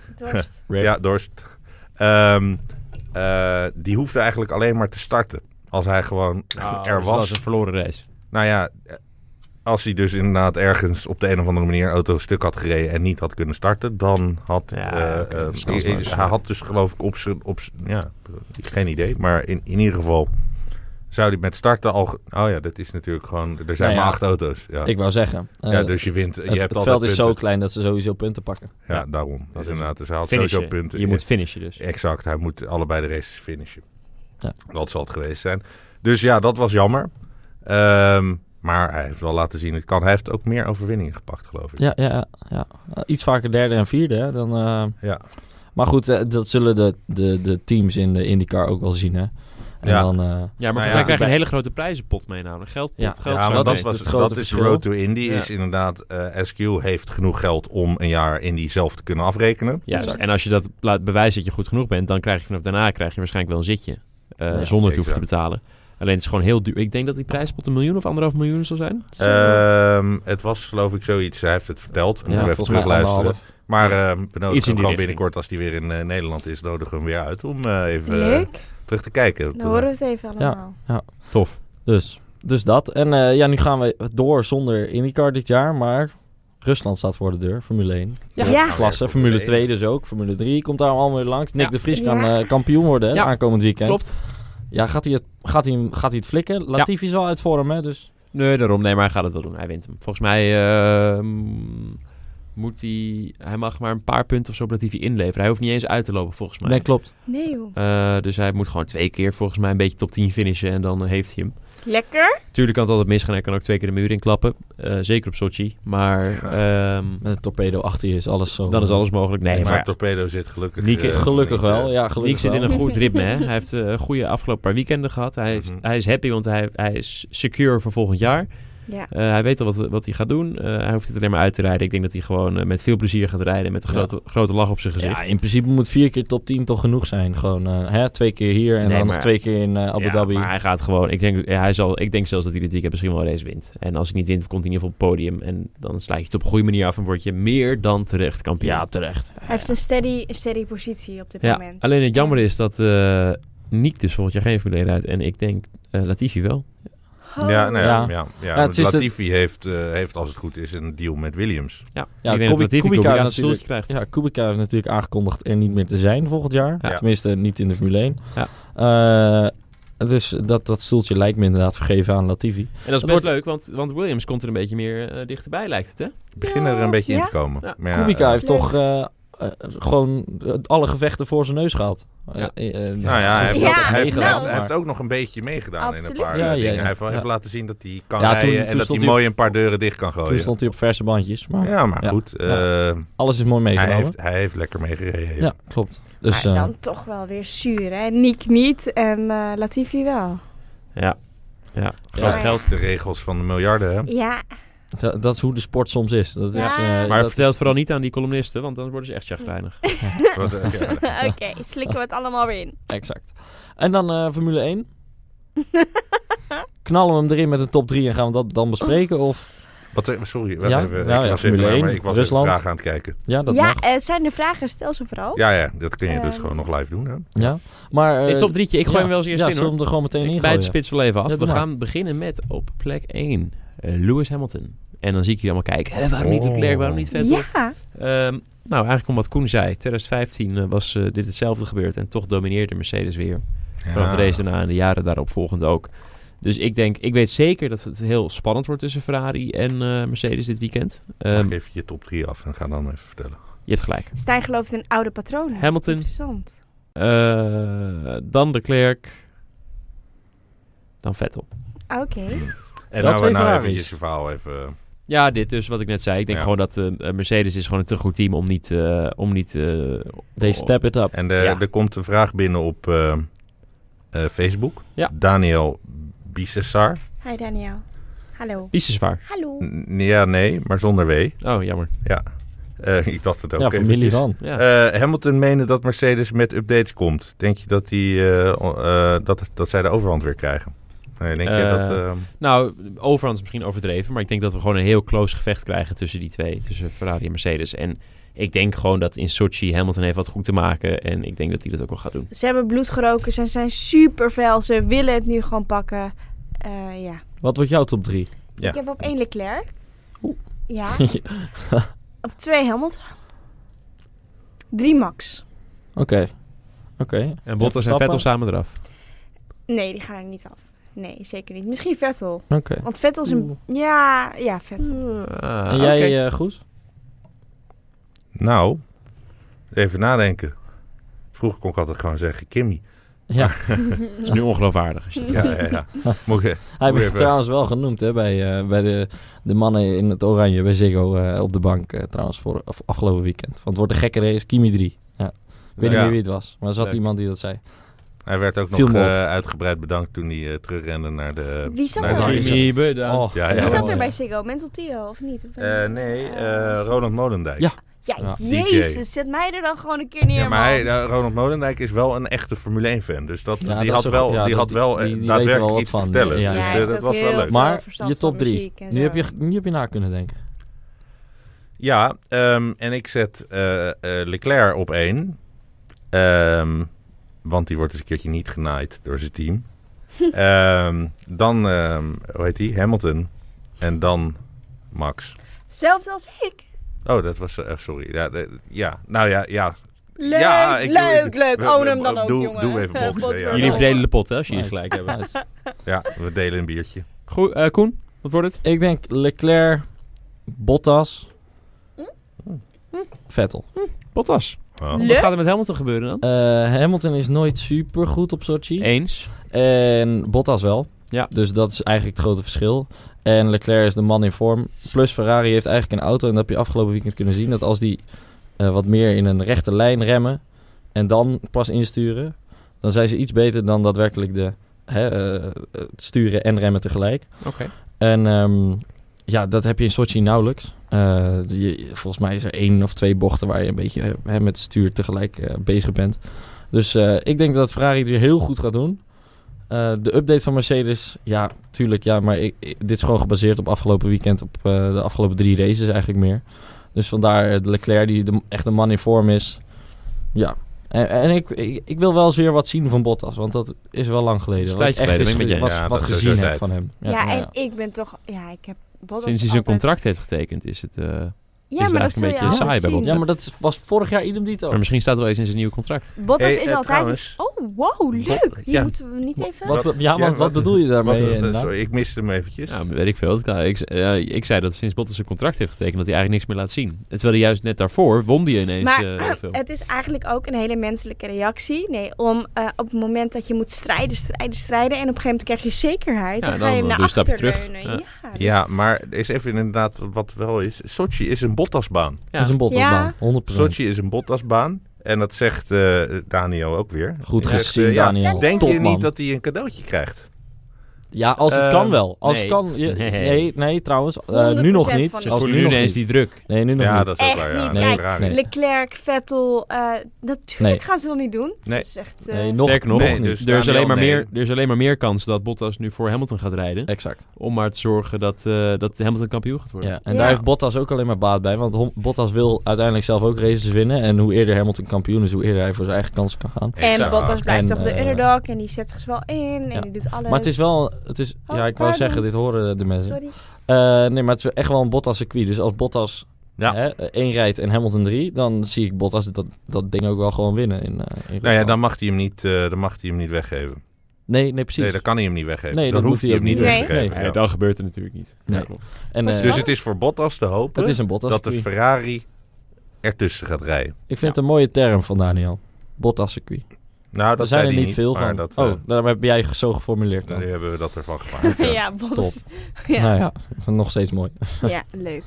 [SPEAKER 2] Ja, dorst.
[SPEAKER 4] Dorst. Ehm, eh, die hoefde eigenlijk alleen maar te starten. Als hij gewoon er
[SPEAKER 1] Ah, Dat was
[SPEAKER 4] was.
[SPEAKER 1] een verloren race.
[SPEAKER 4] Nou ja, eh, als hij dus inderdaad ergens op de een of andere manier een auto stuk had gereden en niet had kunnen starten, dan had
[SPEAKER 1] Ja,
[SPEAKER 4] eh,
[SPEAKER 1] oké,
[SPEAKER 4] eh,
[SPEAKER 1] dat is wel
[SPEAKER 4] i- i-
[SPEAKER 1] smart.
[SPEAKER 4] hij had dus geloof ik op zijn op z'n- ja, ik- geen idee, maar in, in ieder geval zou hij met starten al. ge- Oh ja, dat is natuurlijk gewoon. Er zijn
[SPEAKER 3] Nou ja,
[SPEAKER 4] maar acht auto's. Ja.
[SPEAKER 3] Ik wou zeggen. eh,
[SPEAKER 4] ja, dus je wint. Je
[SPEAKER 3] het,
[SPEAKER 4] hebt
[SPEAKER 3] het
[SPEAKER 4] altijd
[SPEAKER 3] veld is zo
[SPEAKER 4] punten.
[SPEAKER 3] klein dat ze sowieso punten pakken.
[SPEAKER 4] Ja, daarom. Dat
[SPEAKER 1] is
[SPEAKER 4] is inderdaad. Dus hij had sowieso
[SPEAKER 1] Finishen.
[SPEAKER 4] punten.
[SPEAKER 1] Je moet finishen dus.
[SPEAKER 4] Exact, hij moet allebei de races finishen.
[SPEAKER 3] Ja.
[SPEAKER 4] Dat zal het geweest zijn. Dus ja, dat was jammer. Ehm, maar hij heeft wel laten zien, het kan. Hij heeft ook meer overwinningen gepakt, geloof ik.
[SPEAKER 3] Ja, ja, ja, ja. Iets vaker derde en vierde, hè, dan... eh,
[SPEAKER 4] Ja.
[SPEAKER 3] Maar goed, eh, dat zullen de, de, de teams in de IndyCar ook wel zien, hè? En
[SPEAKER 4] Ja.
[SPEAKER 3] dan, eh,
[SPEAKER 1] Ja, maar
[SPEAKER 4] Nou
[SPEAKER 1] voor
[SPEAKER 4] ja.
[SPEAKER 1] mij krijg je
[SPEAKER 3] Bij-
[SPEAKER 1] een hele grote prijzenpot mee namelijk. Geldpot,
[SPEAKER 3] Ja.
[SPEAKER 1] geld.
[SPEAKER 4] ja,
[SPEAKER 1] zo
[SPEAKER 4] maar dat,
[SPEAKER 3] is
[SPEAKER 1] meteen.
[SPEAKER 4] was,
[SPEAKER 3] het grote
[SPEAKER 4] dat is
[SPEAKER 3] verschil.
[SPEAKER 4] Road to Indy.
[SPEAKER 1] Ja.
[SPEAKER 4] Is inderdaad, eh, SQ heeft genoeg geld om een jaar Indy zelf te kunnen afrekenen.
[SPEAKER 1] Juist. En als je dat laat bewijzen dat je goed genoeg bent, dan krijg je vanaf daarna krijg je waarschijnlijk wel een zitje. Eh,
[SPEAKER 3] Ja,
[SPEAKER 1] zonder het hoeven te
[SPEAKER 4] exact.
[SPEAKER 1] betalen. Alleen het is gewoon heel duur. Ik denk dat die prijspot een miljoen of anderhalf miljoen zal zijn.
[SPEAKER 4] Ehm, het was geloof ik zoiets, hij heeft het verteld. Moet
[SPEAKER 3] eh, ja,
[SPEAKER 4] ik even
[SPEAKER 3] volgens mij
[SPEAKER 4] terugluisteren.
[SPEAKER 3] anderhalf.
[SPEAKER 4] Maar ehm we
[SPEAKER 1] Iets
[SPEAKER 4] nodigen
[SPEAKER 1] in
[SPEAKER 4] hem
[SPEAKER 1] die
[SPEAKER 4] gewoon
[SPEAKER 1] richting.
[SPEAKER 4] binnenkort, als hij weer in eh, Nederland is, nodigen we hem weer uit om eh, even eh,
[SPEAKER 2] Leuk.
[SPEAKER 4] terug te kijken.
[SPEAKER 2] Dan horen we het even allemaal.
[SPEAKER 1] Tof.
[SPEAKER 3] Dus, dus dat. En eh, ja, nu gaan we door zonder IndyCar dit jaar, maar Rusland staat voor de deur, Formule 1.
[SPEAKER 2] Ja.
[SPEAKER 4] Nou, Ja.
[SPEAKER 2] Ja.
[SPEAKER 3] Klasse, Formule 2 dus ook, Formule 3 komt daar allemaal weer langs. Nick
[SPEAKER 1] Ja.
[SPEAKER 3] de Vries
[SPEAKER 2] Ja.
[SPEAKER 3] kan eh, kampioen worden hè,
[SPEAKER 1] Ja.
[SPEAKER 3] aankomend weekend.
[SPEAKER 1] Klopt.
[SPEAKER 3] Ja, gaat hij, het, gaat, hij, hem- gaat hij het flikken? Latifi is wel uit vorm, hè? Dus
[SPEAKER 1] Nee, daarom. Nee, maar hij gaat het wel doen. Hij wint hem. Volgens mij eh, mm, moet hij... Hij mag maar een paar punten of zo op Latifi inleveren. Hij hoeft niet eens uit te lopen, volgens mij.
[SPEAKER 3] nee, klopt.
[SPEAKER 2] Nee joh.
[SPEAKER 1] Eh, dus hij moet gewoon twee keer volgens mij een beetje top 10 finishen en dan eh, heeft hij hem.
[SPEAKER 2] Lekker.
[SPEAKER 1] Tuurlijk kan het altijd misgaan. Hij kan ook twee keer de muur inklappen. Eh, zeker op Sochi. Maar ehm,
[SPEAKER 3] Met een torpedo achter je is alles zo.
[SPEAKER 1] dan is alles mogelijk. Nee,
[SPEAKER 4] maar
[SPEAKER 1] maar
[SPEAKER 4] Torpedo zit gelukkig.
[SPEAKER 1] Nieke,
[SPEAKER 4] eh,
[SPEAKER 3] Gelukkig
[SPEAKER 4] niet, eh,
[SPEAKER 3] wel, ja,
[SPEAKER 1] Nick
[SPEAKER 3] gelukkig
[SPEAKER 1] zit in
[SPEAKER 3] wel.
[SPEAKER 1] een goed ritme. Hè? Hij heeft eh, een goede afgelopen paar weekenden gehad. Hij, heeft-
[SPEAKER 4] Mhm.
[SPEAKER 1] hij is happy, want hij, hij is secure voor volgend jaar.
[SPEAKER 2] Ja.
[SPEAKER 1] Eh, hij weet al wat, wat hij gaat doen. Eh, hij hoeft het alleen maar uit te rijden. Ik denk dat hij gewoon eh, met veel plezier gaat rijden. Met een
[SPEAKER 3] Ja.
[SPEAKER 1] grote, grote lach op zijn gezicht.
[SPEAKER 3] Ja, in principe moet vier keer top 10 toch genoeg zijn. Gewoon eh, hè, twee keer hier en
[SPEAKER 1] Nee,
[SPEAKER 3] dan nog
[SPEAKER 1] maar-
[SPEAKER 3] twee keer in eh, Abu
[SPEAKER 1] Ja,
[SPEAKER 3] Dhabi.
[SPEAKER 1] maar hij gaat gewoon. Ik denk, ja, hij zal, ik denk zelfs dat hij dit weekend misschien wel een race wint. En als hij niet wint, komt hij in ieder geval op het podium. En dan sluit je het op een goede manier af en word je meer dan terecht kampioen.
[SPEAKER 3] Ja, terecht.
[SPEAKER 2] Hij heeft een steady, een steady positie op dit
[SPEAKER 1] Ja,
[SPEAKER 2] moment.
[SPEAKER 1] alleen het jammer is dat eh Niek dus volgend jaar geen Formule 1 rijdt. En ik denk eh, Latifi wel.
[SPEAKER 2] Oh.
[SPEAKER 4] Ja, nou ja,
[SPEAKER 3] Ja.
[SPEAKER 4] ja. ja,
[SPEAKER 3] Ja, het is
[SPEAKER 4] Latifi heeft, eh, heeft, als het goed is, een deal met Williams.
[SPEAKER 1] Ja,
[SPEAKER 3] Ja,
[SPEAKER 1] ik denk
[SPEAKER 3] Kubi-
[SPEAKER 1] dat Latifi
[SPEAKER 3] Kubica
[SPEAKER 1] Kubica een
[SPEAKER 3] natuurlijk.
[SPEAKER 1] stoeltje krijgt.
[SPEAKER 3] Ja, Kubica heeft natuurlijk aangekondigd er niet meer te zijn volgend jaar.
[SPEAKER 4] Ja.
[SPEAKER 3] Tenminste, niet in de Formule 1.
[SPEAKER 1] Ja.
[SPEAKER 3] Eh, dus dat, dat stoeltje lijkt me inderdaad vergeven aan Latifi.
[SPEAKER 1] En dat is best
[SPEAKER 3] wordt-
[SPEAKER 1] leuk, want, want Williams komt er een beetje meer eh, dichterbij, lijkt het, hè?
[SPEAKER 4] Beginnen er een beetje in
[SPEAKER 2] Ja.
[SPEAKER 4] te komen.
[SPEAKER 1] Ja.
[SPEAKER 4] Maar ja,
[SPEAKER 3] Kubica
[SPEAKER 4] eh,
[SPEAKER 3] heeft
[SPEAKER 2] Leuk.
[SPEAKER 3] toch eh, eh, gewoon eh, alle gevechten voor zijn neus gehad.
[SPEAKER 1] Ja.
[SPEAKER 3] Eh, eh, eh,
[SPEAKER 4] Nou ja, hij heeft,
[SPEAKER 2] Ja,
[SPEAKER 4] ook, hij, heeft,
[SPEAKER 2] nou.
[SPEAKER 4] hij heeft- hij heeft ook nog een beetje meegedaan in
[SPEAKER 2] Absoluut.
[SPEAKER 4] een paar
[SPEAKER 3] Ja,
[SPEAKER 4] eh,
[SPEAKER 3] ja,
[SPEAKER 4] dingen.
[SPEAKER 3] ja.
[SPEAKER 4] Hij heeft wel
[SPEAKER 3] Ja.
[SPEAKER 4] even laten zien dat hij kan
[SPEAKER 3] Ja, toen-
[SPEAKER 4] rijden
[SPEAKER 3] toen
[SPEAKER 4] en dat
[SPEAKER 3] stond
[SPEAKER 4] hij
[SPEAKER 3] hij
[SPEAKER 4] mooi
[SPEAKER 3] op-
[SPEAKER 4] een paar deuren dicht kan gooien.
[SPEAKER 3] Toen stond hij op verse bandjes, maar
[SPEAKER 4] ja, maar
[SPEAKER 3] Ja.
[SPEAKER 4] goed. eh,
[SPEAKER 3] alles is mooi
[SPEAKER 4] hij,
[SPEAKER 3] meegenomen.
[SPEAKER 4] heeft, hij heeft lekker meegereden.
[SPEAKER 3] Ja, klopt. Dus,
[SPEAKER 2] maar
[SPEAKER 3] eh,
[SPEAKER 2] dan toch wel weer zuur, hè? Niek niet en eh, Latifi wel.
[SPEAKER 1] Ja. Ja,
[SPEAKER 3] Ja.
[SPEAKER 1] groot geld.
[SPEAKER 4] De regels van de miljarden, hè?
[SPEAKER 2] Ja,
[SPEAKER 3] da- dat is hoe de sport soms is. Dat is
[SPEAKER 2] Ja.
[SPEAKER 3] eh,
[SPEAKER 1] Maar
[SPEAKER 3] dat
[SPEAKER 1] vertel het
[SPEAKER 3] is-
[SPEAKER 1] vooral niet aan die columnisten, want dan worden ze echt chagrijnig.
[SPEAKER 4] Wat, eh, ja.
[SPEAKER 2] oké. slikken we het allemaal weer in.
[SPEAKER 3] Exact. En dan eh, Formule 1. Knallen we hem erin met een top 3 en gaan we dat dan
[SPEAKER 2] Oh.
[SPEAKER 3] bespreken? Of
[SPEAKER 4] Wat er- sorry, wel
[SPEAKER 3] Ja,
[SPEAKER 4] even.
[SPEAKER 3] nou ja,
[SPEAKER 4] ik was
[SPEAKER 3] Formule
[SPEAKER 4] even, naar-
[SPEAKER 3] één,
[SPEAKER 4] maar ik was
[SPEAKER 3] Rusland.
[SPEAKER 4] even vragen aan het kijken.
[SPEAKER 3] ja, dat
[SPEAKER 2] ja,
[SPEAKER 3] mag.
[SPEAKER 2] eh, zijn er vragen? Stel ze vooral.
[SPEAKER 4] Ja, ja, dat kun je dus
[SPEAKER 2] Eh,
[SPEAKER 4] gewoon nog live doen. Hè?
[SPEAKER 3] Ja. Maar, eh,
[SPEAKER 1] Hey, top drietje, ik gooi
[SPEAKER 3] ja.
[SPEAKER 1] hem wel eens eerst
[SPEAKER 3] ja,
[SPEAKER 1] in
[SPEAKER 3] zullen
[SPEAKER 1] hoor.
[SPEAKER 3] we hem er gewoon meteen in
[SPEAKER 1] Ik
[SPEAKER 3] gooien?
[SPEAKER 1] bijt de spits wel even af.
[SPEAKER 3] Ja,
[SPEAKER 1] we
[SPEAKER 3] doe maar.
[SPEAKER 1] gaan beginnen met op plek 1 Lewis Hamilton. En dan zie ik jullie allemaal kijken. Hè, waarom niet Leclerc, waarom niet Vettel?
[SPEAKER 2] Ja.
[SPEAKER 1] Ehm, nou, eigenlijk om wat Koen zei. 2015 eh, was eh, dit hetzelfde gebeurd. En toch domineerde Mercedes weer. Vanaf de race daarna en de jaren daarop volgend ook. Dus ik denk, ik weet zeker dat het heel spannend wordt tussen Ferrari en eh, Mercedes dit weekend. Ehm,
[SPEAKER 4] Maak even je top 3 af en ga dan even vertellen.
[SPEAKER 1] je hebt gelijk.
[SPEAKER 2] Stijn gelooft in oude patronen.
[SPEAKER 1] Hamilton,
[SPEAKER 2] Interessant.
[SPEAKER 1] eh, dan de Klerk, dan Vettel.
[SPEAKER 2] Ah, Oké.
[SPEAKER 3] Wel
[SPEAKER 4] En nou,
[SPEAKER 3] twee
[SPEAKER 4] nou
[SPEAKER 3] Ferraris.
[SPEAKER 4] even je verhaal even. eh.
[SPEAKER 1] Ja, dit dus wat ik net zei. Ik denk
[SPEAKER 4] Ja.
[SPEAKER 1] gewoon dat eh, Mercedes is gewoon een te goed team om niet... eh, om niet eh,
[SPEAKER 3] They step it up.
[SPEAKER 4] En de,
[SPEAKER 1] Ja.
[SPEAKER 4] er komt een vraag binnen op eh, eh, Facebook.
[SPEAKER 1] Ja.
[SPEAKER 4] Daniel Bicessar.
[SPEAKER 2] Hi Daniel. Hallo.
[SPEAKER 1] iets te zwaar.
[SPEAKER 2] Hallo.
[SPEAKER 4] N- Ja, nee, maar zonder W.
[SPEAKER 1] Oh, jammer.
[SPEAKER 4] Eh, ik dacht het ook.
[SPEAKER 3] ja, familie
[SPEAKER 4] eventjes.
[SPEAKER 3] dan.
[SPEAKER 1] Ja.
[SPEAKER 4] Eh, Hamilton meende dat Mercedes met updates komt. Denk je dat, die, eh, o- eh, dat, dat zij de overhand weer krijgen? Nee, denk je
[SPEAKER 1] Eh,
[SPEAKER 4] dat... eh,
[SPEAKER 1] Nou, overhand is misschien overdreven, maar ik denk dat we gewoon een heel close gevecht krijgen tussen die twee, tussen Ferrari en Mercedes. En ik denk gewoon dat in Sochi Hamilton heeft wat goed te maken en ik denk dat hij dat ook wel gaat doen.
[SPEAKER 2] Ze hebben bloed geroken. Ze zijn super fel. Ze willen het nu gewoon pakken. Eh, ja.
[SPEAKER 3] Wat wordt jouw top 3?
[SPEAKER 4] Ja.
[SPEAKER 2] Ik heb op één Leclerc.
[SPEAKER 3] Oeh.
[SPEAKER 2] Ja. op twee Hamilton. Drie Max.
[SPEAKER 3] Oké. Oké.
[SPEAKER 1] En Bottas en
[SPEAKER 3] Verstappen?
[SPEAKER 1] Vettel samen eraf.
[SPEAKER 2] Nee, die gaan er niet af. Nee, zeker niet. Misschien Vettel.
[SPEAKER 3] Oké.
[SPEAKER 2] Want Vettel is een... Ja, ja, Vettel.
[SPEAKER 1] Ah,
[SPEAKER 3] En jij eh, goed?
[SPEAKER 4] Nou, even nadenken. Vroeger kon ik altijd gewoon zeggen Kimmy.
[SPEAKER 3] Ja.
[SPEAKER 1] Dat is nu ongeloofwaardig. als je-
[SPEAKER 4] Ja, ja, ja. Moet je-
[SPEAKER 3] Hij werd
[SPEAKER 4] even-
[SPEAKER 3] trouwens wel genoemd hè, bij, eh, bij de, de mannen in het oranje bij Ziggo eh, op de bank eh, trouwens voor of afgelopen weekend. Want het wordt een gekke race. Kimi 3. Ja. Ik weet niet
[SPEAKER 4] Ja.
[SPEAKER 3] meer wie het was, maar er zat
[SPEAKER 1] Leuk.
[SPEAKER 3] iemand die dat zei.
[SPEAKER 4] Hij werd ook
[SPEAKER 3] Viel
[SPEAKER 4] nog
[SPEAKER 3] me op.
[SPEAKER 4] eh, uitgebreid bedankt toen hij eh, terugrende naar de...
[SPEAKER 2] Wie zat
[SPEAKER 4] naar het
[SPEAKER 2] er?
[SPEAKER 4] race.
[SPEAKER 1] Kimi, bedankt.
[SPEAKER 3] Och,
[SPEAKER 4] Ah, Ja, ja.
[SPEAKER 2] Wie
[SPEAKER 4] Hij
[SPEAKER 2] zat
[SPEAKER 4] wel,
[SPEAKER 2] er bij Ziggo? Mental Tio, of niet? Of ben
[SPEAKER 4] Eh,
[SPEAKER 2] ik-
[SPEAKER 4] nee,
[SPEAKER 2] eh,
[SPEAKER 4] eh, Ronald Molendijk.
[SPEAKER 3] Ja.
[SPEAKER 2] Ja,
[SPEAKER 3] Ja.
[SPEAKER 4] DJ.
[SPEAKER 2] jezus. Zet mij er dan gewoon een keer neer,
[SPEAKER 4] Ja, maar hij,
[SPEAKER 2] man.
[SPEAKER 4] eh, Ronald Molendijk is wel een echte Formule 1-fan. Dus dat,
[SPEAKER 3] Ja,
[SPEAKER 4] die,
[SPEAKER 3] dat
[SPEAKER 4] had
[SPEAKER 3] is
[SPEAKER 4] wel,
[SPEAKER 3] een- ja,
[SPEAKER 4] die
[SPEAKER 3] dat-
[SPEAKER 4] had wel
[SPEAKER 3] die-
[SPEAKER 4] eh,
[SPEAKER 3] die weet er wel
[SPEAKER 4] daadwerkelijk
[SPEAKER 3] wat
[SPEAKER 4] iets te
[SPEAKER 3] van.
[SPEAKER 4] vertellen.
[SPEAKER 3] Ja,
[SPEAKER 4] dus
[SPEAKER 3] hij
[SPEAKER 4] eh,
[SPEAKER 2] heeft
[SPEAKER 4] dat
[SPEAKER 2] ook
[SPEAKER 4] was
[SPEAKER 2] heel
[SPEAKER 4] wel leuk.
[SPEAKER 2] veel
[SPEAKER 3] Maar
[SPEAKER 2] verstand
[SPEAKER 3] je top
[SPEAKER 2] van
[SPEAKER 3] drie.
[SPEAKER 2] muziek en
[SPEAKER 3] Nu heb,
[SPEAKER 2] zo.
[SPEAKER 3] je, nu heb je na kunnen denken.
[SPEAKER 4] Ja, ehm, en ik zet eh, eh, Leclerc op één. Ehm, want die wordt eens een keertje niet genaaid door zijn team. Ehm, dan, ehm, hoe heet die? Hamilton. En dan Max.
[SPEAKER 2] Zelfs als ik.
[SPEAKER 4] Oh, dat was... eh, sorry. Ja, de- ja, nou ja, ja.
[SPEAKER 2] Leuk,
[SPEAKER 4] Ja, ik doe-
[SPEAKER 2] leuk,
[SPEAKER 4] ik-
[SPEAKER 2] leuk.
[SPEAKER 4] we-
[SPEAKER 2] Own
[SPEAKER 4] we-
[SPEAKER 2] hem dan
[SPEAKER 4] doe-
[SPEAKER 2] ook,
[SPEAKER 4] doe
[SPEAKER 2] jongen.
[SPEAKER 4] even boxen, ja.
[SPEAKER 2] Godverdomme.
[SPEAKER 1] Jullie verdelen de pot, hè, als jullie
[SPEAKER 3] Nice.
[SPEAKER 1] gelijk hebben.
[SPEAKER 3] Nice.
[SPEAKER 4] ja, we delen een biertje.
[SPEAKER 1] Goed, eh, Koen, wat wordt het?
[SPEAKER 3] Ik denk Leclerc, Bottas,
[SPEAKER 2] Hm?
[SPEAKER 3] Vettel.
[SPEAKER 1] Bottas.
[SPEAKER 4] Oh.
[SPEAKER 1] Wat gaat er met Hamilton gebeuren dan?
[SPEAKER 3] Eh, Hamilton is nooit super goed op Sochi.
[SPEAKER 1] Eens.
[SPEAKER 3] En Bottas wel.
[SPEAKER 1] Ja.
[SPEAKER 3] Dus dat is eigenlijk het grote verschil. En Leclerc is de man in vorm. Plus Ferrari heeft eigenlijk een auto. En dat heb je afgelopen weekend kunnen zien. Dat als die eh, wat meer in een rechte lijn remmen. En dan pas insturen. Dan zijn ze iets beter dan daadwerkelijk de, hè, eh, het sturen en remmen tegelijk.
[SPEAKER 1] Oké.
[SPEAKER 3] En ehm, ja, dat heb je in Sochi nauwelijks. Eh, je- volgens mij is er één of twee bochten waar je een beetje eh, hè, met stuur tegelijk eh, bezig bent. Dus eh, ik denk dat Ferrari het weer heel goed gaat doen. Eh, de update van Mercedes, ja, tuurlijk, ja. Maar ik, ik- dit is gewoon gebaseerd op afgelopen weekend, op eh, de afgelopen drie races eigenlijk meer. Dus vandaar eh, de Leclerc, die de, echt een man in vorm is. Ja. En, en ik, ik, ik wil wel eens weer wat zien van Bottas, want dat is wel lang geleden.
[SPEAKER 1] Is een
[SPEAKER 3] Wat ik
[SPEAKER 1] tijdje geleden,
[SPEAKER 3] echt
[SPEAKER 1] ben ik
[SPEAKER 3] eens
[SPEAKER 1] met
[SPEAKER 4] je
[SPEAKER 3] wat,
[SPEAKER 4] eens. Ja,
[SPEAKER 3] wat
[SPEAKER 4] dat is
[SPEAKER 3] gezien
[SPEAKER 4] sowieso
[SPEAKER 3] heb van
[SPEAKER 4] tijd.
[SPEAKER 3] hem.
[SPEAKER 2] Ja, en ik ben toch... Ja, ik heb... Bottas
[SPEAKER 1] Sinds hij zijn
[SPEAKER 2] altijd-
[SPEAKER 1] contract heeft getekend is het... eh, is
[SPEAKER 2] Ja,
[SPEAKER 1] het
[SPEAKER 2] maar dat
[SPEAKER 1] eigenlijk
[SPEAKER 2] zul je
[SPEAKER 1] een beetje
[SPEAKER 2] altijd
[SPEAKER 1] saai bij
[SPEAKER 2] zien.
[SPEAKER 1] Bottas.
[SPEAKER 3] Ja, maar dat is- was vorig jaar idem dito.
[SPEAKER 1] Maar misschien staat er wel eens in zijn nieuwe contract.
[SPEAKER 2] Bottas
[SPEAKER 4] Hey,
[SPEAKER 2] is
[SPEAKER 4] eh,
[SPEAKER 2] altijd...
[SPEAKER 4] trouwens.
[SPEAKER 2] Oh, wow, leuk. Hier
[SPEAKER 4] eh, Ja.
[SPEAKER 2] moeten we niet even...
[SPEAKER 3] Wat, ja, maar
[SPEAKER 4] ja,
[SPEAKER 3] wat, bedoel je daarmee?
[SPEAKER 4] Wat- eh,
[SPEAKER 3] inderdaad?
[SPEAKER 4] sorry, ik miste hem eventjes.
[SPEAKER 1] Ja, weet ik veel. Het kan- Ik, eh, ik zei dat sinds Bottas zijn contract heeft getekend, dat hij eigenlijk niks meer laat zien. Terwijl hij juist net daarvoor won die ineens
[SPEAKER 2] Maar
[SPEAKER 1] eh, heel veel.
[SPEAKER 2] het is eigenlijk ook een hele menselijke reactie. Nee, om eh, op het moment dat je moet strijden, strijden, strijden... en op een gegeven moment krijg je zekerheid...
[SPEAKER 1] Ja,
[SPEAKER 2] dan,
[SPEAKER 1] dan
[SPEAKER 2] ga je
[SPEAKER 1] doe
[SPEAKER 2] naar
[SPEAKER 1] je een stapje
[SPEAKER 2] achter
[SPEAKER 1] terug.
[SPEAKER 2] leunen.
[SPEAKER 1] Ja.
[SPEAKER 2] Ja.
[SPEAKER 4] Ja, maar er is even inderdaad wat wel is. Sochi is een Bottasbaan.
[SPEAKER 1] Ja.
[SPEAKER 3] Dat is een bottenbaan,
[SPEAKER 2] Ja.
[SPEAKER 3] 100%.
[SPEAKER 4] Sochi is een Bottasbaan. En dat zegt eh, Daniel ook weer.
[SPEAKER 3] Goed
[SPEAKER 4] Hij zegt,
[SPEAKER 3] gezien,
[SPEAKER 4] eh, ja,
[SPEAKER 3] Daniel.
[SPEAKER 4] Denk je
[SPEAKER 3] Topman.
[SPEAKER 4] niet dat hij een cadeautje krijgt?
[SPEAKER 3] Ja, als het
[SPEAKER 4] Eh,
[SPEAKER 3] kan wel. Als het
[SPEAKER 1] nee.
[SPEAKER 3] kan... je-
[SPEAKER 1] Nee.
[SPEAKER 3] nee. Nee, trouwens. eh, nu nog
[SPEAKER 2] 100%
[SPEAKER 3] niet.
[SPEAKER 2] van
[SPEAKER 3] Als
[SPEAKER 2] de-
[SPEAKER 1] Voel
[SPEAKER 3] nu
[SPEAKER 1] nu
[SPEAKER 3] nog
[SPEAKER 1] ineens
[SPEAKER 3] niet.
[SPEAKER 1] die druk.
[SPEAKER 3] Nee, nu nog
[SPEAKER 4] Ja,
[SPEAKER 3] niet.
[SPEAKER 4] dat is ook
[SPEAKER 2] Echt
[SPEAKER 4] waar. Ja.
[SPEAKER 2] niet,
[SPEAKER 4] Nee,
[SPEAKER 2] kijk.
[SPEAKER 4] raar.
[SPEAKER 3] Nee.
[SPEAKER 2] dus Leclerc, Vettel, eh, natuurlijk
[SPEAKER 3] Nee.
[SPEAKER 2] gaan ze dat niet doen.
[SPEAKER 4] Nee.
[SPEAKER 2] Dat is echt... eh,
[SPEAKER 3] Nee, nog,
[SPEAKER 1] Sterker nog,
[SPEAKER 3] nog
[SPEAKER 4] nee,
[SPEAKER 3] niet.
[SPEAKER 1] Er
[SPEAKER 4] dus-
[SPEAKER 1] is,
[SPEAKER 4] Daniel,
[SPEAKER 1] alleen maar
[SPEAKER 4] nee.
[SPEAKER 1] meer, er is alleen maar meer kans dat Bottas nu voor Hamilton gaat rijden.
[SPEAKER 3] Exact.
[SPEAKER 1] Om maar te zorgen dat, eh, dat Hamilton kampioen gaat worden.
[SPEAKER 3] Ja. En
[SPEAKER 2] Ja.
[SPEAKER 3] daar heeft Bottas ook alleen maar baat bij. Want Hom- Bottas wil uiteindelijk zelf ook races winnen. En hoe eerder Hamilton kampioen is, hoe eerder hij voor zijn eigen kansen kan gaan.
[SPEAKER 2] En
[SPEAKER 4] Exact.
[SPEAKER 2] Bottas blijft
[SPEAKER 3] En,
[SPEAKER 2] toch de
[SPEAKER 3] eh,
[SPEAKER 2] underdog en die zet zich wel in en
[SPEAKER 3] ja.
[SPEAKER 2] die doet alles.
[SPEAKER 3] Maar het is wel... Het is,
[SPEAKER 2] Oh,
[SPEAKER 3] ja, ik wou
[SPEAKER 2] pardon.
[SPEAKER 3] zeggen, dit horen de mensen.
[SPEAKER 2] Sorry.
[SPEAKER 3] Eh, nee, maar het is echt wel een Bottas-circuit. Dus als Bottas
[SPEAKER 4] Ja.
[SPEAKER 3] hè, één rijdt en Hamilton drie... dan zie ik Bottas dat, dat ding ook wel gewoon winnen. In, eh, in
[SPEAKER 4] Nou ja,
[SPEAKER 3] Rusland.
[SPEAKER 4] dan mag hij hem niet, eh, dan mag hij hem niet weggeven.
[SPEAKER 3] Nee, nee, precies.
[SPEAKER 4] Nee, dan kan hij hem niet weggeven.
[SPEAKER 3] Nee,
[SPEAKER 4] dan
[SPEAKER 3] dat
[SPEAKER 4] hoeft
[SPEAKER 3] moet
[SPEAKER 4] hij hem
[SPEAKER 3] hij
[SPEAKER 4] niet
[SPEAKER 2] ook niet.
[SPEAKER 4] weg te geven.
[SPEAKER 1] Nee,
[SPEAKER 4] ja.
[SPEAKER 1] dan gebeurt het natuurlijk niet.
[SPEAKER 3] Nee.
[SPEAKER 1] Ja, klopt.
[SPEAKER 3] en, eh,
[SPEAKER 4] Dus het is voor Bottas te hopen
[SPEAKER 3] het is een Bottas
[SPEAKER 4] dat de
[SPEAKER 3] circuit.
[SPEAKER 4] Ferrari ertussen gaat rijden.
[SPEAKER 3] Ik vind het een mooie term van Daniel. Bottas circuit.
[SPEAKER 4] Nou,
[SPEAKER 3] Er
[SPEAKER 4] dat
[SPEAKER 3] zijn
[SPEAKER 4] zei
[SPEAKER 3] er
[SPEAKER 4] hij
[SPEAKER 3] niet veel
[SPEAKER 4] maar
[SPEAKER 3] van.
[SPEAKER 4] Dat, eh,
[SPEAKER 3] oh, daar heb jij zo geformuleerd dan.
[SPEAKER 4] nu hebben we dat ervan gemaakt.
[SPEAKER 2] Ja,
[SPEAKER 4] ja.
[SPEAKER 2] Bottas.
[SPEAKER 3] Nou
[SPEAKER 2] Ja.
[SPEAKER 3] ja, nog steeds mooi.
[SPEAKER 2] ja, leuk.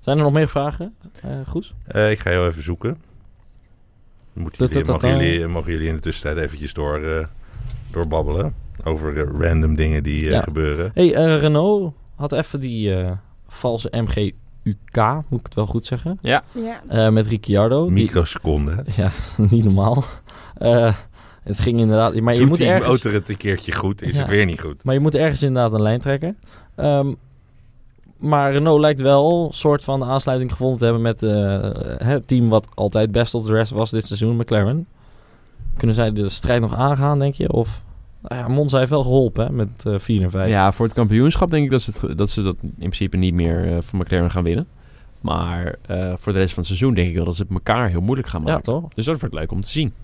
[SPEAKER 3] Zijn er nog meer vragen? Eh Goed.
[SPEAKER 4] Eh, ik ga heel even zoeken. Moeten
[SPEAKER 3] Dat-
[SPEAKER 4] jullie,
[SPEAKER 3] dat-
[SPEAKER 4] mogen,
[SPEAKER 3] dat, eh,
[SPEAKER 4] jullie, mogen jullie in de tussentijd eventjes door, eh, doorbabbelen over eh, random dingen die eh,
[SPEAKER 3] Ja.
[SPEAKER 4] gebeuren?
[SPEAKER 3] hey, eh, Renault had even die eh, valse MGUK, moet ik het wel goed zeggen,
[SPEAKER 2] Ja.
[SPEAKER 3] eh, met Ricciardo. Die-
[SPEAKER 4] Microseconden.
[SPEAKER 3] ja, niet normaal. Eh, het ging inderdaad... Maar je,
[SPEAKER 4] Doet
[SPEAKER 3] moet
[SPEAKER 4] die
[SPEAKER 3] ergens,
[SPEAKER 4] motor het een keertje goed, is
[SPEAKER 3] Ja.
[SPEAKER 4] het weer niet goed.
[SPEAKER 3] maar je moet ergens inderdaad een lijn trekken. Ehm, maar Renault lijkt wel een soort van aansluiting gevonden te hebben met eh, het team wat altijd best op de rest was dit seizoen, McLaren. Kunnen zij de strijd nog aangaan, denk je? Of... Nou ja, Monza heeft wel geholpen hè, met eh 4 en 5.
[SPEAKER 1] Ja, voor het kampioenschap denk ik dat ze, het, ge- dat, ze dat in principe niet meer eh, van McLaren gaan winnen. Maar eh, voor de rest van het seizoen denk ik wel dat ze het elkaar heel moeilijk gaan maken.
[SPEAKER 3] ja toch?
[SPEAKER 1] Dus dat wordt leuk om te zien.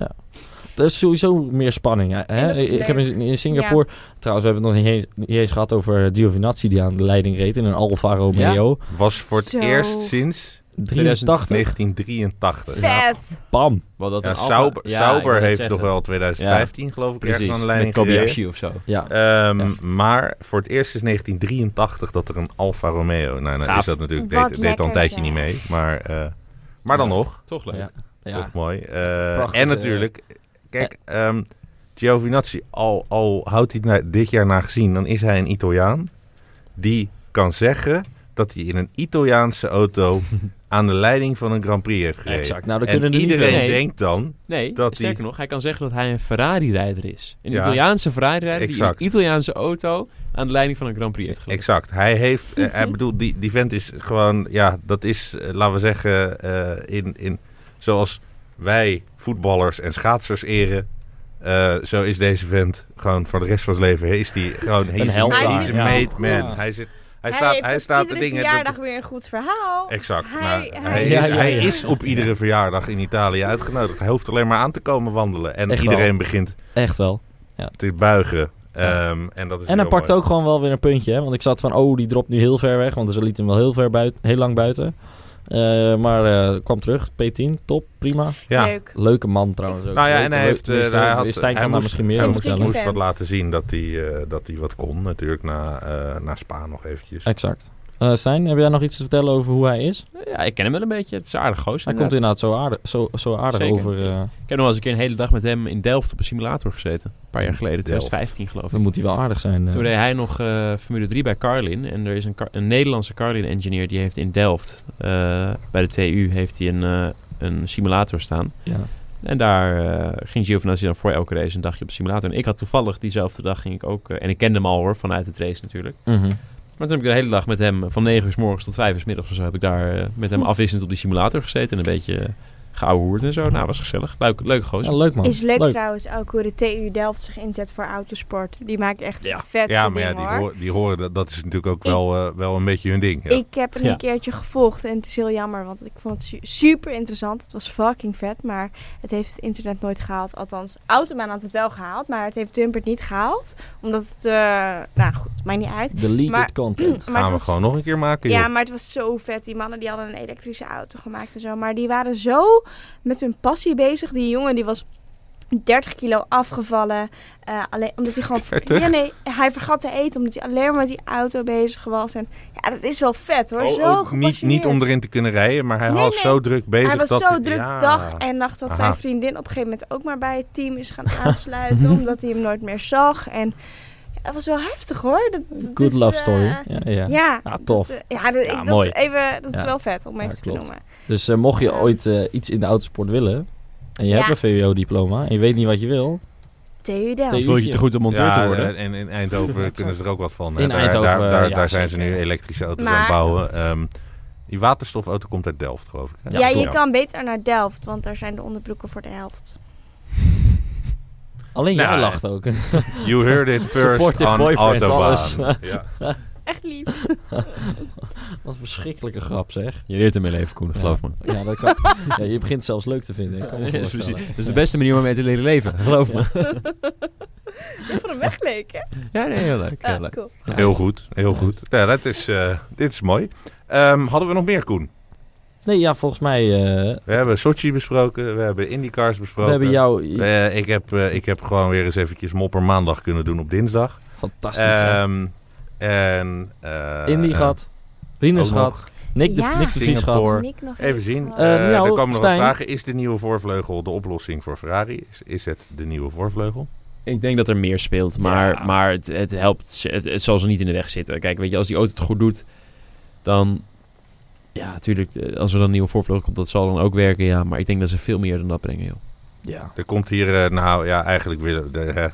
[SPEAKER 3] Er is sowieso meer spanning. hè, Hè?
[SPEAKER 2] dat is
[SPEAKER 3] Ik heb
[SPEAKER 2] leuk.
[SPEAKER 3] in in Singapore... Trouwens, we hebben het nog niet eens, niet eens gehad over Giovinazzi... die aan de leiding reed in een Alfa Romeo.
[SPEAKER 4] Was voor het
[SPEAKER 2] Zo.
[SPEAKER 4] eerst sinds
[SPEAKER 3] 83.
[SPEAKER 4] 1983.
[SPEAKER 2] Vet.
[SPEAKER 3] Bam.
[SPEAKER 1] Wat dat
[SPEAKER 4] Ja, Sauber, Sauber heeft toch wel 2015 geloof ik ergens aan
[SPEAKER 1] Precies,
[SPEAKER 4] de
[SPEAKER 1] met
[SPEAKER 4] leiding gereden.
[SPEAKER 1] Kobayashi of zo.
[SPEAKER 3] Ja.
[SPEAKER 4] Ehm, Maar voor het eerst is 1983 dat er een Alfa Romeo... Nou, nou
[SPEAKER 1] Gaaf.
[SPEAKER 4] is dat natuurlijk...
[SPEAKER 2] Wat
[SPEAKER 4] Deed, deed al
[SPEAKER 2] lekker,
[SPEAKER 4] een tijdje
[SPEAKER 2] ja.
[SPEAKER 4] niet mee. Maar, eh, maar dan
[SPEAKER 1] Ja.
[SPEAKER 4] nog.
[SPEAKER 1] Toch leuk.
[SPEAKER 3] Ja.
[SPEAKER 4] Dat is
[SPEAKER 3] ja. eh.
[SPEAKER 4] mooi. Eh,
[SPEAKER 3] Prachtig,
[SPEAKER 4] en
[SPEAKER 3] eh,
[SPEAKER 4] natuurlijk... Kijk, ehm Giovinazzi, al, al houdt hij het na- dit jaar naar gezien... dan is hij een Italiaan die kan zeggen... dat hij in een Italiaanse auto... aan de leiding van een Grand Prix heeft gereden.
[SPEAKER 3] Exact. Nou, dan
[SPEAKER 4] En
[SPEAKER 3] kunnen er niet
[SPEAKER 4] iedereen
[SPEAKER 3] veel.
[SPEAKER 1] Nee.
[SPEAKER 4] denkt dan...
[SPEAKER 1] Nee,
[SPEAKER 4] Dat
[SPEAKER 1] sterker
[SPEAKER 4] die-
[SPEAKER 1] nog, hij kan zeggen dat hij een Ferrari-rijder is. Een
[SPEAKER 4] Ja.
[SPEAKER 1] Italiaanse Ferrari-rijder die in
[SPEAKER 4] Exact.
[SPEAKER 1] een Italiaanse auto aan de leiding van een Grand Prix heeft geleid.
[SPEAKER 4] Exact. Hij heeft, eh, hij bedoelt, die, die vent is gewoon, ja, dat is, eh, laten we zeggen, eh, in, in, zoals wij voetballers en schaatsers eren, eh, zo is deze vent gewoon voor de rest van zijn leven, is die gewoon, hij
[SPEAKER 3] Een
[SPEAKER 4] is
[SPEAKER 3] held
[SPEAKER 2] daar.
[SPEAKER 4] he's a
[SPEAKER 2] Hij
[SPEAKER 4] made
[SPEAKER 2] is
[SPEAKER 4] man.
[SPEAKER 3] heel goed.
[SPEAKER 4] Hij, zit, hij,
[SPEAKER 2] Hij,
[SPEAKER 4] staat,
[SPEAKER 2] heeft
[SPEAKER 4] hij
[SPEAKER 2] op
[SPEAKER 4] staat de
[SPEAKER 2] iedere
[SPEAKER 4] dingen...
[SPEAKER 2] verjaardag
[SPEAKER 4] dat-
[SPEAKER 2] weer een goed verhaal.
[SPEAKER 4] Exact.
[SPEAKER 2] Hij-
[SPEAKER 4] nou,
[SPEAKER 2] hij-
[SPEAKER 4] hij, is,
[SPEAKER 3] Ja, ja,
[SPEAKER 4] hij
[SPEAKER 3] ja.
[SPEAKER 4] is op iedere verjaardag in Italië uitgenodigd. Hij hoeft alleen maar aan te komen wandelen. En
[SPEAKER 3] Echt wel.
[SPEAKER 4] iedereen begint
[SPEAKER 3] Echt wel.
[SPEAKER 4] te buigen.
[SPEAKER 3] Ja.
[SPEAKER 4] Ehm, en dat is
[SPEAKER 3] En hij
[SPEAKER 4] heel
[SPEAKER 3] pakt
[SPEAKER 4] mooi.
[SPEAKER 3] ook gewoon wel weer een puntje. Hè? Want ik zat van, oh, die dropt nu heel ver weg. Want ze liet hem wel heel, ver buiten, heel lang buiten. Eh, maar eh, kwam terug. P10, top, prima.
[SPEAKER 4] Ja.
[SPEAKER 2] Leuk.
[SPEAKER 3] Leuke man trouwens ook.
[SPEAKER 4] Nou ja,
[SPEAKER 3] Leuk-
[SPEAKER 4] en hij
[SPEAKER 3] leuk-
[SPEAKER 4] heeft... eh,
[SPEAKER 3] tenminste,
[SPEAKER 4] hij had,
[SPEAKER 3] Stijn
[SPEAKER 4] hij
[SPEAKER 3] kan daar
[SPEAKER 4] moest-
[SPEAKER 3] misschien meer
[SPEAKER 4] hij
[SPEAKER 2] Zo'n
[SPEAKER 3] over
[SPEAKER 4] moest-
[SPEAKER 2] vertellen.
[SPEAKER 4] moest
[SPEAKER 2] Vent.
[SPEAKER 4] wat laten zien dat hij, eh, dat hij wat kon. Natuurlijk na, eh, na Spa nog eventjes.
[SPEAKER 3] Exact. Eh Stijn, heb jij nog iets te vertellen over hoe hij is?
[SPEAKER 1] Ja, ik ken hem wel een beetje. Het is een aardig gozer.
[SPEAKER 3] Hij komt
[SPEAKER 1] inderdaad.
[SPEAKER 3] inderdaad zo aardig, zo, zo aardig
[SPEAKER 1] Zeker.
[SPEAKER 3] over. eh,
[SPEAKER 1] Ik heb nog wel eens een keer een hele dag met hem in Delft op een simulator gezeten. Een paar jaar geleden,
[SPEAKER 4] Delft.
[SPEAKER 1] 2015 geloof ik.
[SPEAKER 3] dan moet hij wel aardig zijn. eh.
[SPEAKER 1] Toen reed hij nog eh, Formule 3 bij Carlin. En er is een, Car- een Nederlandse Carlin-engineer die heeft in Delft, eh, bij de TU, heeft hij een, eh, een simulator staan.
[SPEAKER 3] ja.
[SPEAKER 1] En daar eh, ging Giovinazzi dan voor elke race een dagje op de simulator. En ik had toevallig diezelfde dag ging ik ook... eh, en ik kende hem al hoor, vanuit het race natuurlijk.
[SPEAKER 3] Mhm.
[SPEAKER 1] Maar toen heb ik de hele dag Hm. met hem, eh, van 9 uur s morgens tot 5 uur s middags of zo... heb ik daar eh, met hem afwisselend op die simulator gezeten. En een beetje eh, geouwehoerd en zo. Nou, was gezellig. Leuk, leuk gozer.
[SPEAKER 3] Ja, leuk man.
[SPEAKER 2] Is leuk,
[SPEAKER 3] Leuk.
[SPEAKER 2] trouwens ook hoe de TU Delft zich inzet voor autosport. Die maakt echt
[SPEAKER 1] Ja.
[SPEAKER 2] vet
[SPEAKER 4] Ja, maar
[SPEAKER 2] dingen
[SPEAKER 4] ja, die,
[SPEAKER 2] hoor.
[SPEAKER 4] hoor- die horen, dat, dat is natuurlijk ook wel, eh, wel een beetje hun ding. Ja.
[SPEAKER 2] Ik heb het
[SPEAKER 3] Ja.
[SPEAKER 2] een keertje gevolgd en het is heel jammer, want ik vond het su- super interessant. Het was fucking vet, maar het heeft het internet nooit gehaald. Althans, Autobaan had het wel gehaald, maar het heeft Dumpert niet gehaald. Omdat het, eh, nou goed, maakt niet uit.
[SPEAKER 3] Deleted
[SPEAKER 2] Maar-
[SPEAKER 3] content.
[SPEAKER 2] maar
[SPEAKER 4] Gaan
[SPEAKER 2] het
[SPEAKER 4] we
[SPEAKER 2] was-
[SPEAKER 4] gewoon nog een keer maken, joh.
[SPEAKER 2] Ja, maar het was zo vet. Die mannen die hadden een elektrische auto gemaakt en zo. Maar die waren zo met hun passie bezig. Die jongen die was 30 kilo afgevallen. eh, alleen omdat hij gewoon...
[SPEAKER 4] 30?
[SPEAKER 2] Ja, nee, hij vergat te eten omdat hij alleen maar met die auto bezig was. En ja, dat is wel vet hoor.
[SPEAKER 4] Oh,
[SPEAKER 2] zo
[SPEAKER 4] ook niet, niet om erin te kunnen rijden, maar hij
[SPEAKER 2] Nee,
[SPEAKER 4] was
[SPEAKER 2] nee.
[SPEAKER 4] zo druk bezig.
[SPEAKER 2] Hij was
[SPEAKER 4] dat
[SPEAKER 2] zo druk
[SPEAKER 4] ja.
[SPEAKER 2] dag en nacht dat zijn
[SPEAKER 4] Aha.
[SPEAKER 2] vriendin op een gegeven moment ook maar bij het team is gaan aansluiten. omdat hij hem nooit meer zag. En ja, dat was wel heftig hoor. Dat, dat
[SPEAKER 3] Good
[SPEAKER 2] is,
[SPEAKER 3] love
[SPEAKER 2] eh,
[SPEAKER 3] story. ja, ja.
[SPEAKER 2] ja,
[SPEAKER 3] Ja, tof.
[SPEAKER 2] Ja, dat, ik,
[SPEAKER 3] mooi.
[SPEAKER 2] Dat, even, dat is
[SPEAKER 3] Ja.
[SPEAKER 2] wel vet om even
[SPEAKER 3] Ja,
[SPEAKER 2] te
[SPEAKER 3] klopt.
[SPEAKER 2] benoemen.
[SPEAKER 3] Dus eh, mocht je
[SPEAKER 2] Ja.
[SPEAKER 3] ooit eh, iets in de autosport willen en je
[SPEAKER 2] Ja.
[SPEAKER 3] hebt een VWO-diploma en je weet niet wat je wil,
[SPEAKER 2] TU Delft.
[SPEAKER 3] TU.
[SPEAKER 1] Voel je je te goed om monteur
[SPEAKER 4] Ja,
[SPEAKER 1] te worden?
[SPEAKER 4] en in Eindhoven kunnen ze er ook wat van. hè.
[SPEAKER 3] In
[SPEAKER 4] daar,
[SPEAKER 3] Eindhoven,
[SPEAKER 4] daar, daar,
[SPEAKER 3] ja,
[SPEAKER 4] daar zijn ze
[SPEAKER 3] zeker.
[SPEAKER 4] nu elektrische auto's
[SPEAKER 2] Maar-
[SPEAKER 4] aan het bouwen. Ehm, die waterstofauto komt uit Delft, geloof ik. hè?
[SPEAKER 2] Ja, je kan beter naar Delft, want daar zijn de onderbroeken voor de helft.
[SPEAKER 3] alleen
[SPEAKER 4] Nou,
[SPEAKER 3] jij
[SPEAKER 4] ja.
[SPEAKER 3] lacht ook.
[SPEAKER 4] You heard it first
[SPEAKER 3] Supportive
[SPEAKER 4] on
[SPEAKER 3] boyfriend,
[SPEAKER 4] Autobahn.
[SPEAKER 3] alles.
[SPEAKER 4] Ja.
[SPEAKER 2] Echt lief.
[SPEAKER 3] wat een verschrikkelijke grap zeg.
[SPEAKER 1] Je leert ermee leven, Koen,
[SPEAKER 3] Ja.
[SPEAKER 1] geloof me.
[SPEAKER 3] Ja, dat kan, ja, je begint het zelfs leuk te vinden. Ik kan me
[SPEAKER 1] Ja, dat is
[SPEAKER 3] voorstellen.
[SPEAKER 1] precies. Dat is de beste manier om mee te leren leven, geloof me.
[SPEAKER 2] Ik vond hem echt leuk, hè?
[SPEAKER 1] Ja, nee, heel leuk. Heel
[SPEAKER 2] Ah,
[SPEAKER 1] leuk.
[SPEAKER 2] cool.
[SPEAKER 4] Heel goed, heel goed. Ja, dat is, eh, dit is mooi. Ehm, hadden we nog meer, Koen?
[SPEAKER 3] Nee, ja, volgens mij, eh,
[SPEAKER 4] We hebben Sochi besproken, we hebben IndyCars
[SPEAKER 3] we
[SPEAKER 4] besproken.
[SPEAKER 3] hebben jou
[SPEAKER 4] Eh, ik, heb, eh, ik heb gewoon weer eens eventjes mopper maandag kunnen doen op dinsdag.
[SPEAKER 3] fantastisch hè.
[SPEAKER 4] Ehm en, eh,
[SPEAKER 3] Indy
[SPEAKER 4] eh,
[SPEAKER 3] gehad, Rinus
[SPEAKER 4] ook nog.
[SPEAKER 3] gehad, Nick de,
[SPEAKER 2] Ja.
[SPEAKER 3] Nick de Vries
[SPEAKER 4] Singapore.
[SPEAKER 3] gehad.
[SPEAKER 4] Hoor.
[SPEAKER 2] Nick nog
[SPEAKER 4] Even zien.
[SPEAKER 2] Oh.
[SPEAKER 4] Eh,
[SPEAKER 3] Eh, nou,
[SPEAKER 4] er komen nog wat
[SPEAKER 3] Stijn.
[SPEAKER 4] vragen. Is de nieuwe voorvleugel de oplossing voor Ferrari? Is, is het de nieuwe voorvleugel?
[SPEAKER 1] Ik denk dat er meer speelt, maar,
[SPEAKER 4] Ja.
[SPEAKER 1] maar het, het helpt. ze- Het, het zal ze niet in de weg zitten. Kijk, weet je, als die auto het goed doet, dan. Ja, natuurlijk. eh, Als er dan een nieuwe voorvleugel komt, dat zal dan ook werken, ja. Maar ik denk dat ze veel meer dan dat brengen, joh.
[SPEAKER 3] Ja.
[SPEAKER 4] Er komt hier, eh, nou ja, eigenlijk willen de, hè,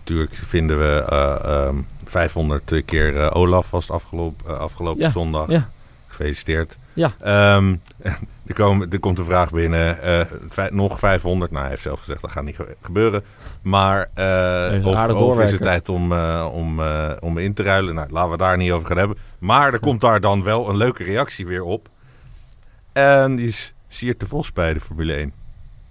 [SPEAKER 4] Natuurlijk vinden we eh, ehm, 500 keer eh, Olaf was afgelopen, eh, afgelopen
[SPEAKER 3] Ja,
[SPEAKER 4] zondag.
[SPEAKER 3] ja.
[SPEAKER 4] Gefeliciteerd.
[SPEAKER 3] Ja.
[SPEAKER 4] Ehm, er, komen, er komt een vraag binnen. eh, vij- nog 500. Nou, hij heeft zelf gezegd dat gaat niet ge- gebeuren. Maar eh,
[SPEAKER 3] is een
[SPEAKER 4] of,
[SPEAKER 3] aardig
[SPEAKER 4] of is het
[SPEAKER 3] doorwerker.
[SPEAKER 4] tijd om, eh, om, eh, om in te ruilen? Nou, laten we daar niet over gaan hebben. Maar er komt daar dan wel een leuke reactie weer op. En die is Siert de Vos bij de Formule 1.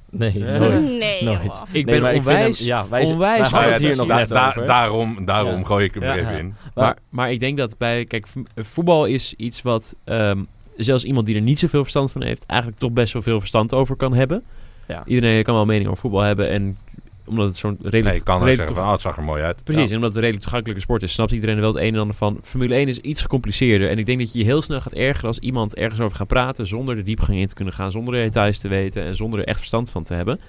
[SPEAKER 3] Nee,
[SPEAKER 4] Eh,
[SPEAKER 1] Ja.
[SPEAKER 3] nooit.
[SPEAKER 2] Nee,
[SPEAKER 3] Nooit.
[SPEAKER 2] joh.
[SPEAKER 1] Ik
[SPEAKER 3] Nee,
[SPEAKER 1] ben
[SPEAKER 3] maar vind
[SPEAKER 1] onwijs.
[SPEAKER 3] hem- ja, wij,
[SPEAKER 1] onwijs
[SPEAKER 3] wij hadden
[SPEAKER 1] Ah,
[SPEAKER 4] Nou
[SPEAKER 1] ja,
[SPEAKER 3] het hier
[SPEAKER 1] dat-
[SPEAKER 3] nog
[SPEAKER 4] da-
[SPEAKER 3] net
[SPEAKER 4] da-
[SPEAKER 3] over.
[SPEAKER 4] Daarom, daarom
[SPEAKER 3] Ja.
[SPEAKER 4] gooi ik hem er
[SPEAKER 3] Ja.
[SPEAKER 4] even in.
[SPEAKER 1] Maar, maar ik denk dat bij. Kijk, v- voetbal is iets wat. ehm, zelfs iemand die er niet zoveel verstand van heeft, eigenlijk toch best wel veel verstand over kan hebben.
[SPEAKER 3] Ja.
[SPEAKER 1] Iedereen kan wel een mening over voetbal hebben. En omdat het zo'n redelijk.
[SPEAKER 4] Nee, ik kan wel
[SPEAKER 1] redelijk
[SPEAKER 4] zeggen van, ah, het zag er mooi uit.
[SPEAKER 1] Precies, en omdat het een redelijk toegankelijke sport is, snapt iedereen er wel het een en ander van. Formule 1 is iets gecompliceerder. En ik denk dat je je heel snel gaat ergeren als iemand ergens over gaat praten zonder de diepgang in te kunnen gaan, zonder de details te weten en zonder er echt verstand van te hebben.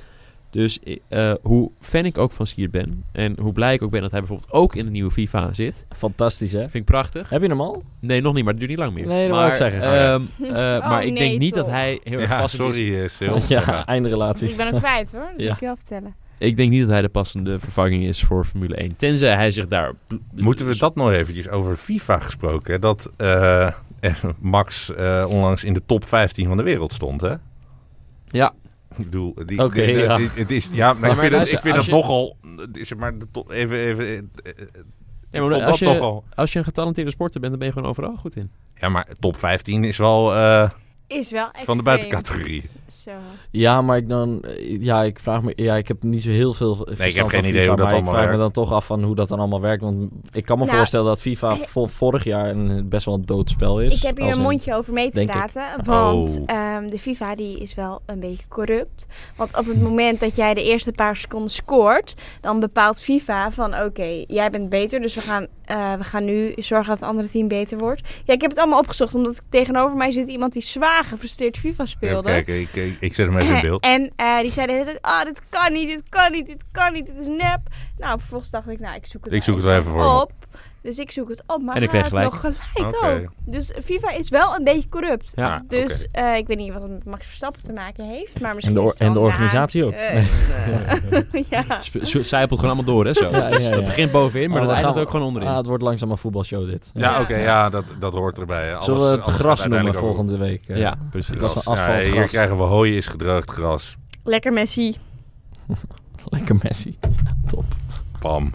[SPEAKER 1] Dus eh, hoe fan ik ook van Sier ben en hoe blij ik ook ben dat hij bijvoorbeeld ook in de nieuwe FIFA zit,
[SPEAKER 3] Fantastisch, hè?
[SPEAKER 1] vind ik prachtig.
[SPEAKER 3] Heb je hem al?
[SPEAKER 1] Nee, nog niet, maar het duurt niet lang meer.
[SPEAKER 3] Nee, dat
[SPEAKER 1] maar,
[SPEAKER 3] wou ik zeggen.
[SPEAKER 1] ehm, eh,
[SPEAKER 2] Oh,
[SPEAKER 1] maar ik
[SPEAKER 2] nee,
[SPEAKER 1] denk niet dat
[SPEAKER 2] toch.
[SPEAKER 1] hij heel erg
[SPEAKER 4] Ja,
[SPEAKER 1] passend is.
[SPEAKER 4] sorry, eh, Sil.
[SPEAKER 3] Ja,
[SPEAKER 4] Ja.
[SPEAKER 3] eindrelatie.
[SPEAKER 2] Ik ben hem kwijt hoor, dat
[SPEAKER 3] Ja.
[SPEAKER 2] kan ik je wel vertellen.
[SPEAKER 1] Ik denk niet dat hij de passende vervanging is voor Formule 1. Tenzij hij zich daar. Dus-
[SPEAKER 4] Moeten we dat nog eventjes over FIFA gesproken? hè? Dat eh, Max eh, onlangs in de top 15 van de wereld stond, hè?
[SPEAKER 1] Ja.
[SPEAKER 4] Ik bedoel, die,
[SPEAKER 3] Oké,
[SPEAKER 4] die-
[SPEAKER 3] ja.
[SPEAKER 4] die- het is, ja, maar
[SPEAKER 1] Maar
[SPEAKER 4] ik vind, het,
[SPEAKER 1] luister,
[SPEAKER 4] ik vind
[SPEAKER 1] als
[SPEAKER 4] dat
[SPEAKER 1] je-
[SPEAKER 4] nogal... Het is er maar de top, even, even... eh, eh,
[SPEAKER 1] Ja,
[SPEAKER 4] ik
[SPEAKER 1] maar
[SPEAKER 4] vond
[SPEAKER 1] als
[SPEAKER 4] dat
[SPEAKER 1] je-
[SPEAKER 4] nogal.
[SPEAKER 1] Als je een getalenteerde sporter bent, dan ben je gewoon overal goed in.
[SPEAKER 4] Ja, maar top 15 is wel eh,
[SPEAKER 2] Is wel extreem.
[SPEAKER 4] van de buitencategorie.
[SPEAKER 2] Zo.
[SPEAKER 3] Ja, maar ik dan... eh, Ja, ik vraag me... Ja, ik heb niet zo heel veel verstand
[SPEAKER 4] ik heb
[SPEAKER 3] van
[SPEAKER 4] geen
[SPEAKER 3] FIFA,
[SPEAKER 4] idee hoe dat
[SPEAKER 3] maar
[SPEAKER 4] allemaal
[SPEAKER 3] ik vraag me
[SPEAKER 4] werkt.
[SPEAKER 3] dan toch af van hoe dat dan allemaal werkt. Want ik kan me
[SPEAKER 2] Nou,
[SPEAKER 3] voorstellen dat FIFA vo- vorig jaar een, best wel een doodspel is.
[SPEAKER 2] Ik heb hier
[SPEAKER 3] Als
[SPEAKER 2] een
[SPEAKER 3] in-
[SPEAKER 2] mondje over mee te
[SPEAKER 3] denk ik.
[SPEAKER 2] praten. Want
[SPEAKER 4] Oh.
[SPEAKER 2] ehm, de FIFA die is wel een beetje corrupt. Want op het moment dat jij de eerste paar seconden scoort, dan bepaalt FIFA van oké, jij bent beter. Dus we gaan, eh, we gaan nu zorgen dat het andere team beter wordt. Ja, ik heb het allemaal opgezocht, omdat tegenover mij zit iemand die zwaar gefrustreerd FIFA
[SPEAKER 4] Even
[SPEAKER 2] speelde.
[SPEAKER 4] kijken, ik, ik, ik zet hem even in beeld.
[SPEAKER 2] En eh, die zei de hele tijd, ah, dit kan niet, dit kan niet, dit kan niet, dit is nep. Nou, vervolgens dacht ik, nou, ik zoek het,
[SPEAKER 4] Ik zoek het wel even voor me
[SPEAKER 2] op. Dus ik zoek het op, maar
[SPEAKER 1] En ik
[SPEAKER 2] hij
[SPEAKER 1] kreeg
[SPEAKER 2] had nog gelijk
[SPEAKER 4] Oké.
[SPEAKER 2] ook. Dus FIFA is wel een beetje corrupt.
[SPEAKER 1] Ja,
[SPEAKER 4] Ah,
[SPEAKER 2] Dus eh, ik weet niet wat het met Max Verstappen te maken heeft, maar misschien
[SPEAKER 3] de
[SPEAKER 2] is
[SPEAKER 3] or-
[SPEAKER 2] het dan
[SPEAKER 3] en de
[SPEAKER 2] na-
[SPEAKER 3] organisatie ook.
[SPEAKER 2] eh, eh, ja.
[SPEAKER 1] Sp- zo- Zijpelt gewoon allemaal door, hè? Zo.
[SPEAKER 3] Ja, ja, ja.
[SPEAKER 1] Dus het begint bovenin, maar
[SPEAKER 3] Oh,
[SPEAKER 1] dat
[SPEAKER 3] dan
[SPEAKER 1] eindigt
[SPEAKER 3] gaan we-
[SPEAKER 1] ook gewoon onderin.
[SPEAKER 3] Ah, het wordt langzaam een voetbalshow dit.
[SPEAKER 4] oké. Ja,
[SPEAKER 2] Ja.
[SPEAKER 4] oké, ja, dat, dat hoort erbij. hè. Alles,
[SPEAKER 3] Zullen we het
[SPEAKER 4] alles
[SPEAKER 3] gras
[SPEAKER 4] gaat
[SPEAKER 3] noemen
[SPEAKER 4] uiteindelijk over
[SPEAKER 3] volgende week? eh?
[SPEAKER 1] ja, precies.
[SPEAKER 3] Dat is
[SPEAKER 4] gras.
[SPEAKER 3] een asfaltgras.
[SPEAKER 4] hier krijgen we hooi is gedroogd gras.
[SPEAKER 2] Lekker Messi.
[SPEAKER 3] Lekker Messi. Top.
[SPEAKER 4] Pam.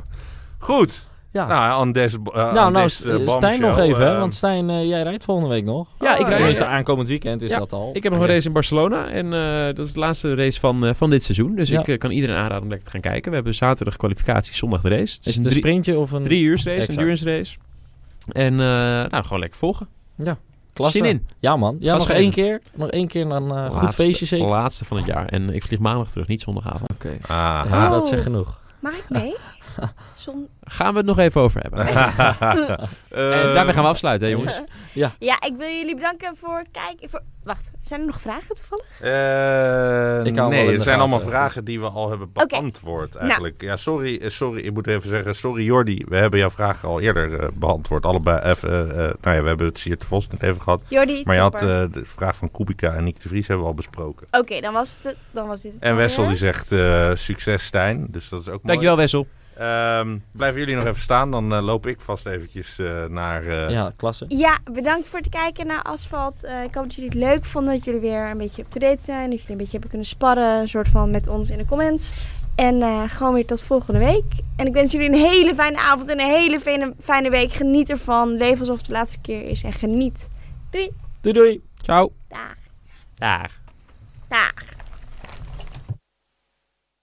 [SPEAKER 4] Goed.
[SPEAKER 3] Ja. Nou,
[SPEAKER 4] Nou, on this, eh, on
[SPEAKER 3] nou,
[SPEAKER 4] this, eh,
[SPEAKER 3] St- Stijn nog
[SPEAKER 4] bombshell,
[SPEAKER 3] even, hè,
[SPEAKER 4] eh,
[SPEAKER 3] want Stijn, eh, jij rijdt volgende week nog.
[SPEAKER 1] Ja, ik,
[SPEAKER 2] Oh,
[SPEAKER 1] rijd,
[SPEAKER 3] Ah, Tenminste, aankomend weekend is
[SPEAKER 1] Ja,
[SPEAKER 3] dat al.
[SPEAKER 1] ik heb nog een race in Barcelona. En eh, dat is de laatste race van, eh, van dit seizoen. Dus
[SPEAKER 3] Ja.
[SPEAKER 1] ik eh, kan iedereen aanraden om lekker te gaan kijken. We hebben zaterdag kwalificatie, zondag de race. Het
[SPEAKER 3] Is het een
[SPEAKER 1] drie-
[SPEAKER 3] sprintje of een...
[SPEAKER 1] Drie uur race, een
[SPEAKER 3] Exact.
[SPEAKER 1] endurance race. En eh, nou, gewoon lekker volgen.
[SPEAKER 3] Klasse.
[SPEAKER 1] Zin in.
[SPEAKER 3] Ja, man. Ja,
[SPEAKER 1] Gas
[SPEAKER 3] nog
[SPEAKER 1] geven.
[SPEAKER 3] één keer. Nog één keer en dan eh, goed
[SPEAKER 1] Laatste-
[SPEAKER 3] feestje zeker.
[SPEAKER 1] Laatste van het jaar. En ik vlieg maandag terug, niet zondagavond.
[SPEAKER 3] Oké.
[SPEAKER 4] Aha.
[SPEAKER 3] Ja, dat
[SPEAKER 2] Oh.
[SPEAKER 3] zegt genoeg.
[SPEAKER 2] Mag ik mee? Zon...
[SPEAKER 1] Gaan we het nog even over hebben. en
[SPEAKER 4] Eh,
[SPEAKER 1] daarbij gaan we afsluiten, hè, jongens.
[SPEAKER 2] Ja, ik wil jullie bedanken voor kijken. Voor... Wacht, zijn er nog vragen toevallig?
[SPEAKER 3] Ik
[SPEAKER 4] Eh,
[SPEAKER 3] hou hem wel in de
[SPEAKER 4] nee, het zijn
[SPEAKER 3] gaten.
[SPEAKER 4] allemaal vragen die we al hebben
[SPEAKER 2] Oké.
[SPEAKER 4] beantwoord eigenlijk. Ja, sorry, eh, sorry, ik moet even zeggen, sorry Jordi, we hebben jouw vragen al eerder eh, beantwoord. Allebei even, eh, eh, nou ja, we hebben het Siert de Vos net even gehad.
[SPEAKER 2] Jordi,
[SPEAKER 4] Maar je had
[SPEAKER 2] topper.
[SPEAKER 4] eh, de vraag van Kubica en Nick de Vries hebben we al besproken.
[SPEAKER 2] Oké, dan, was het- dan was dit het.
[SPEAKER 4] En Wessel die
[SPEAKER 2] alweer.
[SPEAKER 4] zegt, eh, succes Stijn, dus dat is ook mooi.
[SPEAKER 1] Dankjewel, Wessel.
[SPEAKER 4] Ehm, blijven jullie nog even staan, dan eh, loop ik vast eventjes eh, naar... eh,
[SPEAKER 3] Ja, klasse.
[SPEAKER 2] Ja, bedankt voor het kijken naar Asfalt. Eh, ik hoop dat jullie het leuk vonden. Dat jullie weer een beetje up-to-date zijn. Dat jullie een beetje hebben kunnen sparren. Een soort van met ons in de comments. En eh, gewoon weer tot volgende week. En ik wens jullie een hele fijne avond en een hele fijne, fijne week. Geniet ervan. Leef alsof het de laatste keer is. En geniet. Doei.
[SPEAKER 3] Doei doei.
[SPEAKER 1] Ciao.
[SPEAKER 2] Daag.
[SPEAKER 1] Dag.
[SPEAKER 2] Daag.